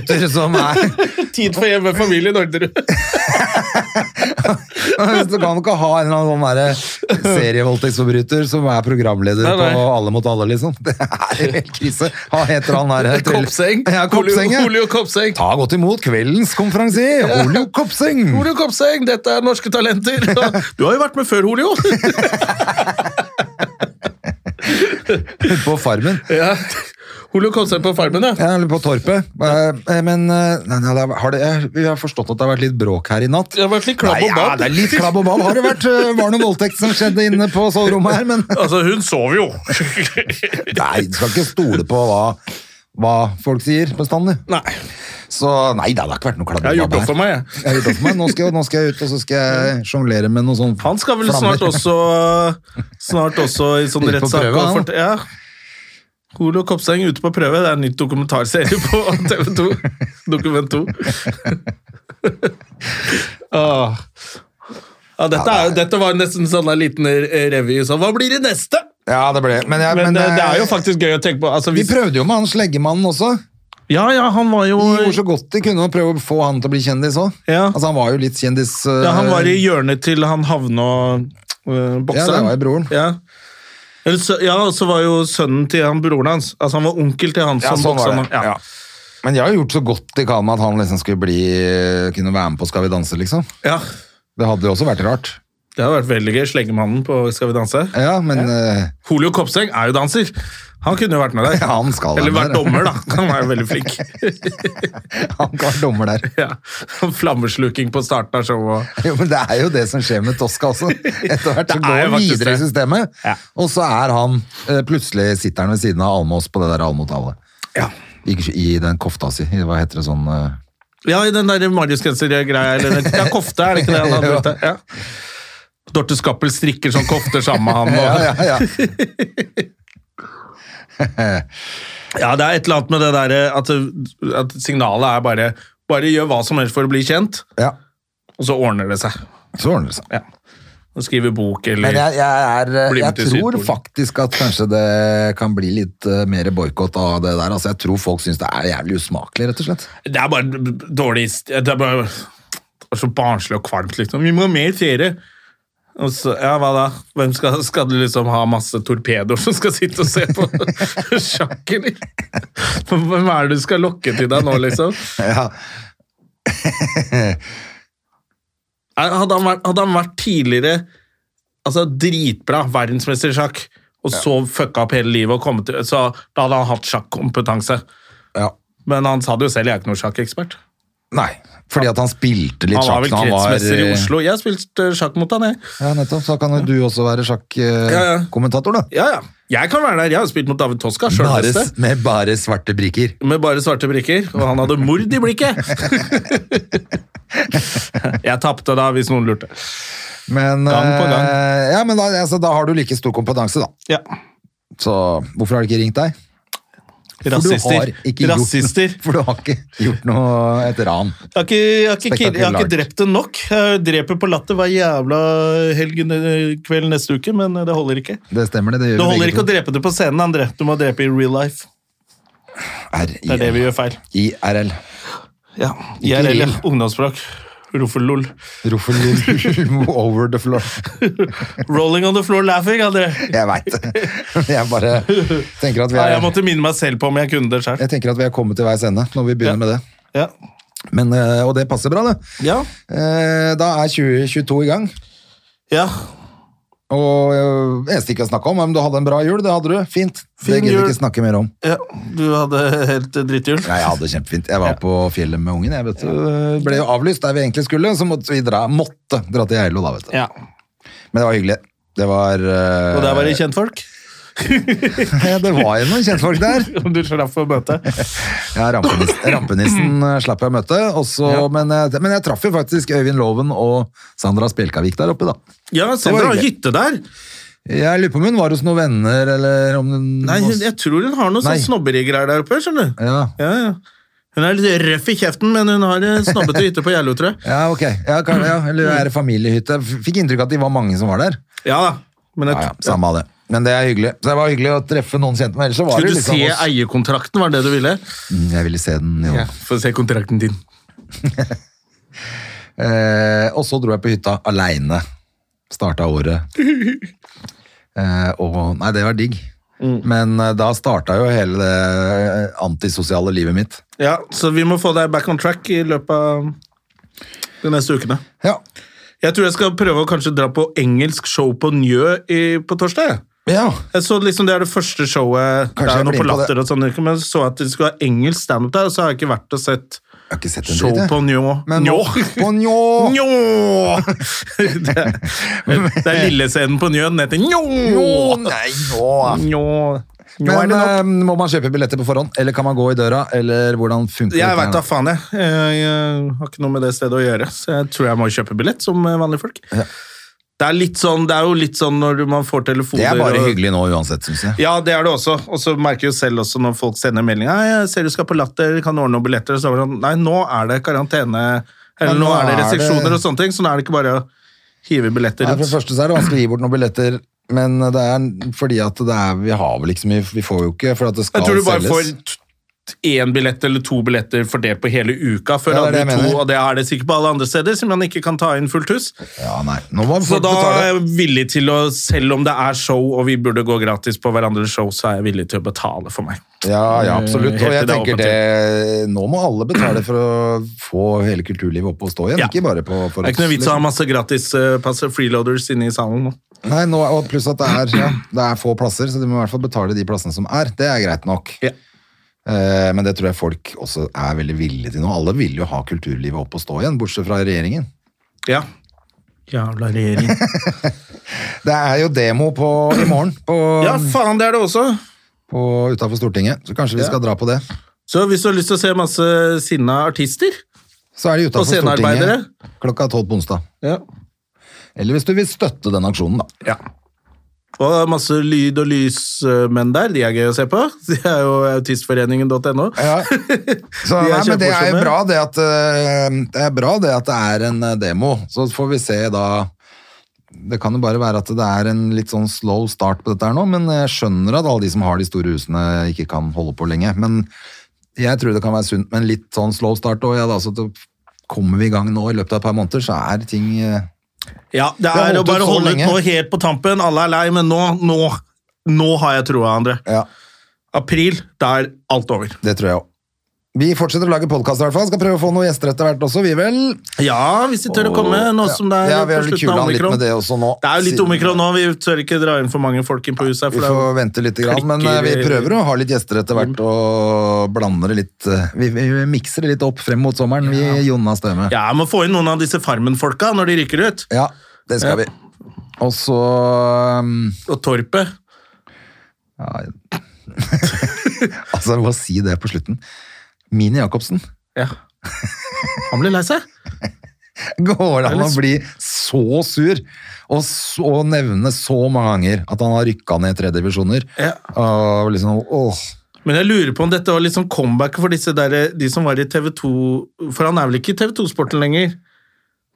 minutter som er
Tid for hjemme familie i Norderud.
Du kan ikke ha en eller annen sånn derre serievoldtektsforbryter som er programleder
Nei, nei.
på Alle mot alle, liksom. Det er helt krise. Hva heter han der? til-
Kopseng.
Ja, Kopseng, ja.
Olio Kopseng.
Ta godt imot kveldens konferansier, Olio Kopseng!
Olio Kopseng, dette er norske talenter. Du har jo vært med før, Olio.
På Farmen.
Ja. Olio Kopseng på Farmen, ja.
Ja, eller på Torpet. Eh, eh, Men eh, nei, nei, det er- har det, jeg, vi har forstått at det har vært litt bråk her i natt.
Det har vært litt
Nei,
klabb og
ja,
babb.
det er litt klabb og babb. Har det vært eh, var det noe voldtekt som skjedde inne på soverommet her, men
Altså, hun sov jo.
Nei, du skal ikke stole på hva, hva folk sier bestandig.
Nei.
Så nei, det har ikke vært noe klabb
Jeg har
og
gjort
babb
opp
her.
for meg, jeg.
Jeg har gjort opp for meg. Nå skal, jeg- nå skal jeg ut, og så skal jeg sjonglere med noe sånn
Han skal vel
flammer.
snart også Snart også i sånn
Ute på
rettssak.
prøve,
og
han.
fort- Ja. Olio Kopseng ute på prøve. Det er en nytt dokumentarserie på TV 2. Dokument 2. Åh. Ah. Ja, dette, er, jo- dette var nesten sånn en liten re- revy. Sånn, hva blir det neste?
Ja, det ble men, jeg,
Men, det, det er jo
eh,
faktisk gøy å tenke på. Altså,
Vi
hvis,
prøvde jo med han sleggemannen også.
ja, ja, han var jo
De gjorde så godt de kunne å prøve å få han til å bli kjendis òg.
Ja.
Altså, han var jo litt kjendis... eh,
Ja, han var i hjørnet til han havna øh, bokseren.
Ja, det var jo broren.
Ja. Eller så, ja, og så var jo sønnen til han broren hans. Altså Han var onkel til han
ja,
som
sånn
bokseren.
var det. Ja. Men jeg har gjort så godt de kan med at han liksom skulle bli, kunne være med på Skal vi danse, liksom.
Ja.
Det hadde jo også vært rart.
Det har vært veldig gøy. Slengemannen på Skal vi danse.
Ja, men eh,
Holio Kopseng er jo danser. Han kunne jo vært med der.
Ja, han skal
Eller vært
være med der.
dommer, da. Han er jo veldig flink.
han kan være dommer der.
ja. Flammesluking på starten av showet.
Jo, men Det er jo det som skjer med Tosca også. Etter hvert så
Det er
går
jo
han
faktisk
videre i
det.
systemet,
Ja.
og så er han eh, plutselig sitter han ved siden av Almås på det der Almot-alle.
Ja.
I, I den kofta si. i- Hva heter det sånn eh,
Ja, i den der Marius-genser-greia. eller den- Ja, kofte, er det ikke det han har brukt? det? Ja. Dorte Skappel strikker sånn kofter sammen med han. Og...
Ja, ja, ja.
Ja, det er et eller annet med det derre at, at signalet er bare Bare gjør hva som helst for å bli kjent,
ja.
og så ordner det seg.
Så ordner det seg.
Ja. Og skriver bok eller
Men jeg, jeg, er, eh,
Bli med
jeg
til
tror
Sydpolen.
faktisk at kanskje det kan bli litt eh, mer boikott av det der. Altså, jeg tror folk syns det er jævlig usmakelig, rett og slett.
Det er bare dårlig Det er bare det er så barnslig og kvalmt, liksom. Vi må ha mer ferie! Og så, ja, hva da? Hvem skal, skal du liksom ha masse torpedoer som skal sitte og se på sjakk, eller? Hvem er det du skal lokke til deg nå, liksom?
Ja.
Er- Hadde han vært, hadde han vært tidligere altså dritbra verdensmester i sjakk, og så fucka opp hele livet og kommet til så Da hadde han hatt sjakkompetanse.
ja.
Men han sa det jo selv, jeg er ikke noen sjakkekspert.
Nei. Fordi at han spilte litt
Han var
sjakk
vel
da han var eh,
kretsmester i Oslo. Jeg har spilt eh, sjakk mot han, jeg.
Ja, nettopp. Så kan jo du også være
Ja, ja.
sjakk-kommentator, da.
Ja, ja. Jeg kan være der. Jeg har spilt mot David Toska,
Bare,
sjølveste.
med bare svarte brikker.
Med bare svarte brikker, og han hadde mord i blikket! jeg tapte da, hvis noen lurte.
Men,
Gang på gang.
eh, Ja, men da, altså, da har du like stor kompetanse, da.
Ja.
Så hvorfor har de ikke ringt deg? For Du har
Rasister.
ikke gjort noe-
Rasister.
for du har ikke gjort noe et ran.
Jeg har, ikke, jeg, har ikke, kill- jeg har ikke
Spektakulært.
drept det nok. Jeg dreper på latter hver jævla helgen eh, kveld neste uke, men det holder ikke.
Det stemmer, det. Det
Det
gjør
holder
vi
ikke å drepe det på scenen, André. Du må drepe i real life. Det er det vi gjør feil.
IRL.
Ja.
Ikke
IRL, ja.
real.
Ungdomsspråk. Roffelol.
Ruffel over the floor.
Rolling on the floor laughing, André.
Jeg veit det. Jeg bare tenker at vi
Ja, jeg
er
måtte minne meg selv på om jeg kunne det sjøl.
jeg tenker at vi er kommet til veis ende når vi begynner
Ja.
med det.
Ja.
Men, eh, og det passer bra, det.
Ja.
Eh, Da er 2022 i gang.
ja.
Og øh, eneste ikke å snakke om, er om du hadde en bra jul. Det hadde du. Fint. det
Fin
gidder
jul.
vi ikke snakke mer om.
ja. Du hadde helt dritthjul.
Nei, jeg hadde det kjempefint. Jeg var på fjellet med ungen. Jeg vet, du. Øh, ble jo avlyst der vi egentlig skulle, så måtte vi dra, måtte dra til Geilo da, vet du.
Ja.
Men det var hyggelig. Det var øh,
Og der var det kjentfolk.
ja, Det var jo noen kjentfolk der.
Om du slapp å møte.
Ja, rampenissen, rampenissen øh, slapp jeg å møte. og så- men, øh, men jeg traff jo faktisk Øyvind Loven og Sandra Spjelkavik der oppe, da.
Ja, Sandra har
hyggelig.
hytte der.
Jeg lurer på om hun var hos noen venner, eller om hun
Nei, hun, jeg tror hun har noe
Nei.
sånn snobberigreier der oppe, skjønner du.
ja.
Ja, ja. Hun er litt røff i kjeften, men hun har en snobbete hytte på Gjerlo, tror jeg.
Ja, ok. Ja, kan, ja. Eller er det familiehytte? F- Fikk inntrykk av at de var mange som var der.
Ja da. Men
Ja,
jeg,
ja, samme av det. Men det er hyggelig. Så det var hyggelig å treffe noen kjente, men ellers så var
Skulle du
det liksom
se
oss.
eierkontrakten, var det det du ville?
Mm, Jeg ville se den, jo.
Ja, Få se kontrakten din.
Eh, og så dro jeg på hytta aleine. Starta året. Eh, og Nei, det var digg.
Mm.
Men eh, da starta jo hele det eh, antisosiale livet mitt.
Ja, Så vi må få deg back on track i løpet av de neste ukene.
Ja.
Jeg tror jeg skal prøve å kanskje dra på engelsk show på Njø i, på torsdag. jeg.
ja.
Jeg så liksom Det er det første showet
Kanskje
Det er
jeg
noe
blir
på
med på det.
latter og sånn, men jeg så at de skulle ha engelsk standup der, og så har jeg ikke vært og sett
Jeg har ikke sett en
show
dritt, jeg.
på Njå.
Men
Njå!
På njå!
Njå! Det er, det er lillescenen på Njø, den heter Njå!
Njå, Nei, njå.
Njå. Njå er
Men
det nok.
eh, må man kjøpe billetter på forhånd, eller kan man gå i døra, eller hvordan funker
Jeg
dette
veit
her
da
nå?
faen, jeg. jeg. Jeg har ikke noe med det stedet å gjøre, så jeg tror jeg må kjøpe billett som eh, vanlige folk. Det er, litt sånn, det er jo litt sånn når du- man får telefoner
Det er bare
og-
hyggelig nå uansett, syns jeg.
Ja, det er det også. Og så merker jeg jo selv også når folk sender melding «Hei, jeg ser du skal på Latter, kan du ordne noen billetter? Og så er det sånn Nei, nå er det karantene, eller
Ja,
nå er det restriksjoner og sånne ting, så nå er det ikke bare å hive billetter
Nei, for det
rundt.
første så er det vanskelig å gi bort noen billetter, men det er fordi at det er, vi har vel ikke så mye, vi får jo ikke, for at det skal
Jeg tror du bare
selges.
får t- én billett eller to billetter fordelt på hele uka før
Ja, det er det
andre
jeg
to,
mener.
og det er det sikkert på alle andre steder, som man ikke kan ta inn fullt hus.
Ja, nei. Nå må
Så
folk
da er
betale.
jeg villig til å, selv om det er show og vi burde gå gratis på hverandres show, så er jeg villig til å betale for meg.
Ja, ja, absolutt.
Helt til
Og jeg
det er
tenker
opp og
det, nå må alle betale for å få hele kulturlivet opp og stå igjen,
Ja.
ikke bare liksom- på for
Det er ikke noe vits å ha masse gratispasser, freeloaders, inne i salen nå.
Nei, nå, og pluss at det er, ja, det er få plasser, så du må i hvert fall betale de plassene som er. Det er greit nok.
Ja.
Eh, Men det tror jeg folk også er veldig villige til nå. Alle vil jo ha kulturlivet opp og stå igjen, bortsett fra regjeringen.
Ja. Jævla regjering.
Det er jo demo på, i morgen på,
Ja, faen, det er det også.
på, utenfor Stortinget, så kanskje vi skal dra på det.
Så hvis du har lyst til å se masse sinna artister
Så er det
Og
utenfor
scenearbeidere?
Stortinget klokka tolv på onsdag.
ja.
Eller hvis du vil støtte den aksjonen, da.
Og det er masse lyd- og lysmenn der, de er gøy å se på. De er jo autistforeningen.no.
Så,
De er
nei, men det er jo
kjempemorsomme.
bra det, at, eh, det er bra det at det er en eh, demo. Så får vi se da Det kan jo bare være at det er en litt sånn slow start på dette her nå, men jeg skjønner at alle de som har de store husene, ikke kan holde på lenge. Men jeg tror det kan være sunt med en litt sånn slow start òg. Ja, da, så det- kommer vi i gang nå i løpet av et par måneder, så er ting eh,
Ja, det
har
er å
holdt ut
bare
så
holde ut
lenge.
nå helt på tampen. Alle er lei, men nå, nå, nå har jeg troa, André.
Ja,
April, da er alt over.
det tror jeg òg. Vi fortsetter å lage podkast, i hvert fall. Skal prøve å få noen gjester etter hvert også, vi vel.
Ja, hvis de tør å komme, nå som det er på
ja, vi har vel
slutten
kula
av
litt
omikron.
med det også nå.
Det er jo litt
siden-
omikron nå, vi tør ikke dra inn for mange folk inn på huset. her,
Vi
For det er jo-
får vente litt, grann, men eh,
klikker- Mm.
vi prøver å ha litt gjester etter hvert og blander det litt eh, Vi, vi mikser det litt opp frem mot sommeren, vi Jonna Støme.
Ja, jeg må få inn noen av disse Farmen-folka når de rykker ut.
Ja, det
Ja.
skal vi. Og så um,
Og Torpet.
ja. Altså, jeg må si det på slutten. Mini Jacobsen.
Ja. Han blir lei seg.
Går det an
Eller
å
s-
bli så sur og så nevne så mange ganger at han har rykka ned i tre divisjoner?
Ja.
Og liksom, åh.
Men jeg lurer på om dette var litt sånn comebacket for disse der, de som var i TV2 For han er vel ikke i TV2-sporten lenger?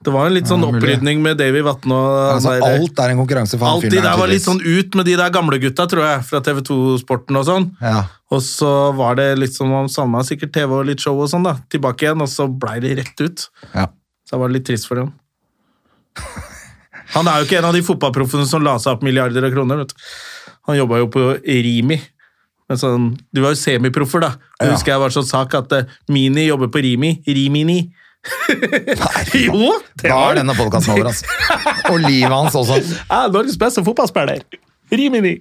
Det var en litt sånn
Ja, mulig.
opprydning med Davy Vatne og han
Altså,
der-
alt er en konkurranse for han
Alt de
fyren
der var litt
tydeligvis.
sånn ut med de der gamle gutta, tror jeg, fra TV2-sporten og sånn.
ja.
Og så var det litt som om savna sikkert TV og litt show og sånn, da. Tilbake igjen, og så blei de rett ut.
ja.
Så det var litt trist for ham. Han er jo ikke en av de fotballproffene som la seg opp milliarder av kroner. Vet du. Han jobba jo på Rimi. Men sånn, du var jo semiproffer, da. Jeg
Ja.
husker jeg var sånn sak at eh, Mini jobber på Rimi. Rimini. jo! Det
Da
var
er denne podkasten over, altså. Og livet hans også.
Jeg er Norges beste fotballspiller. Rimini.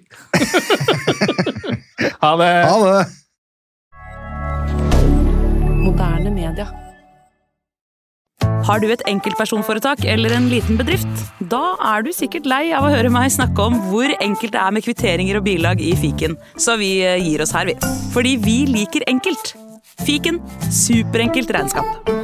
ha det.
Ha det!
Moderne media. Har du et enkeltpersonforetak eller en liten bedrift? Da er du sikkert lei av å høre meg snakke om hvor enkelt det er med kvitteringer og bilag i fiken, så vi eh, gir oss her, vi. Fordi vi liker enkelt. Fiken superenkelt regnskap.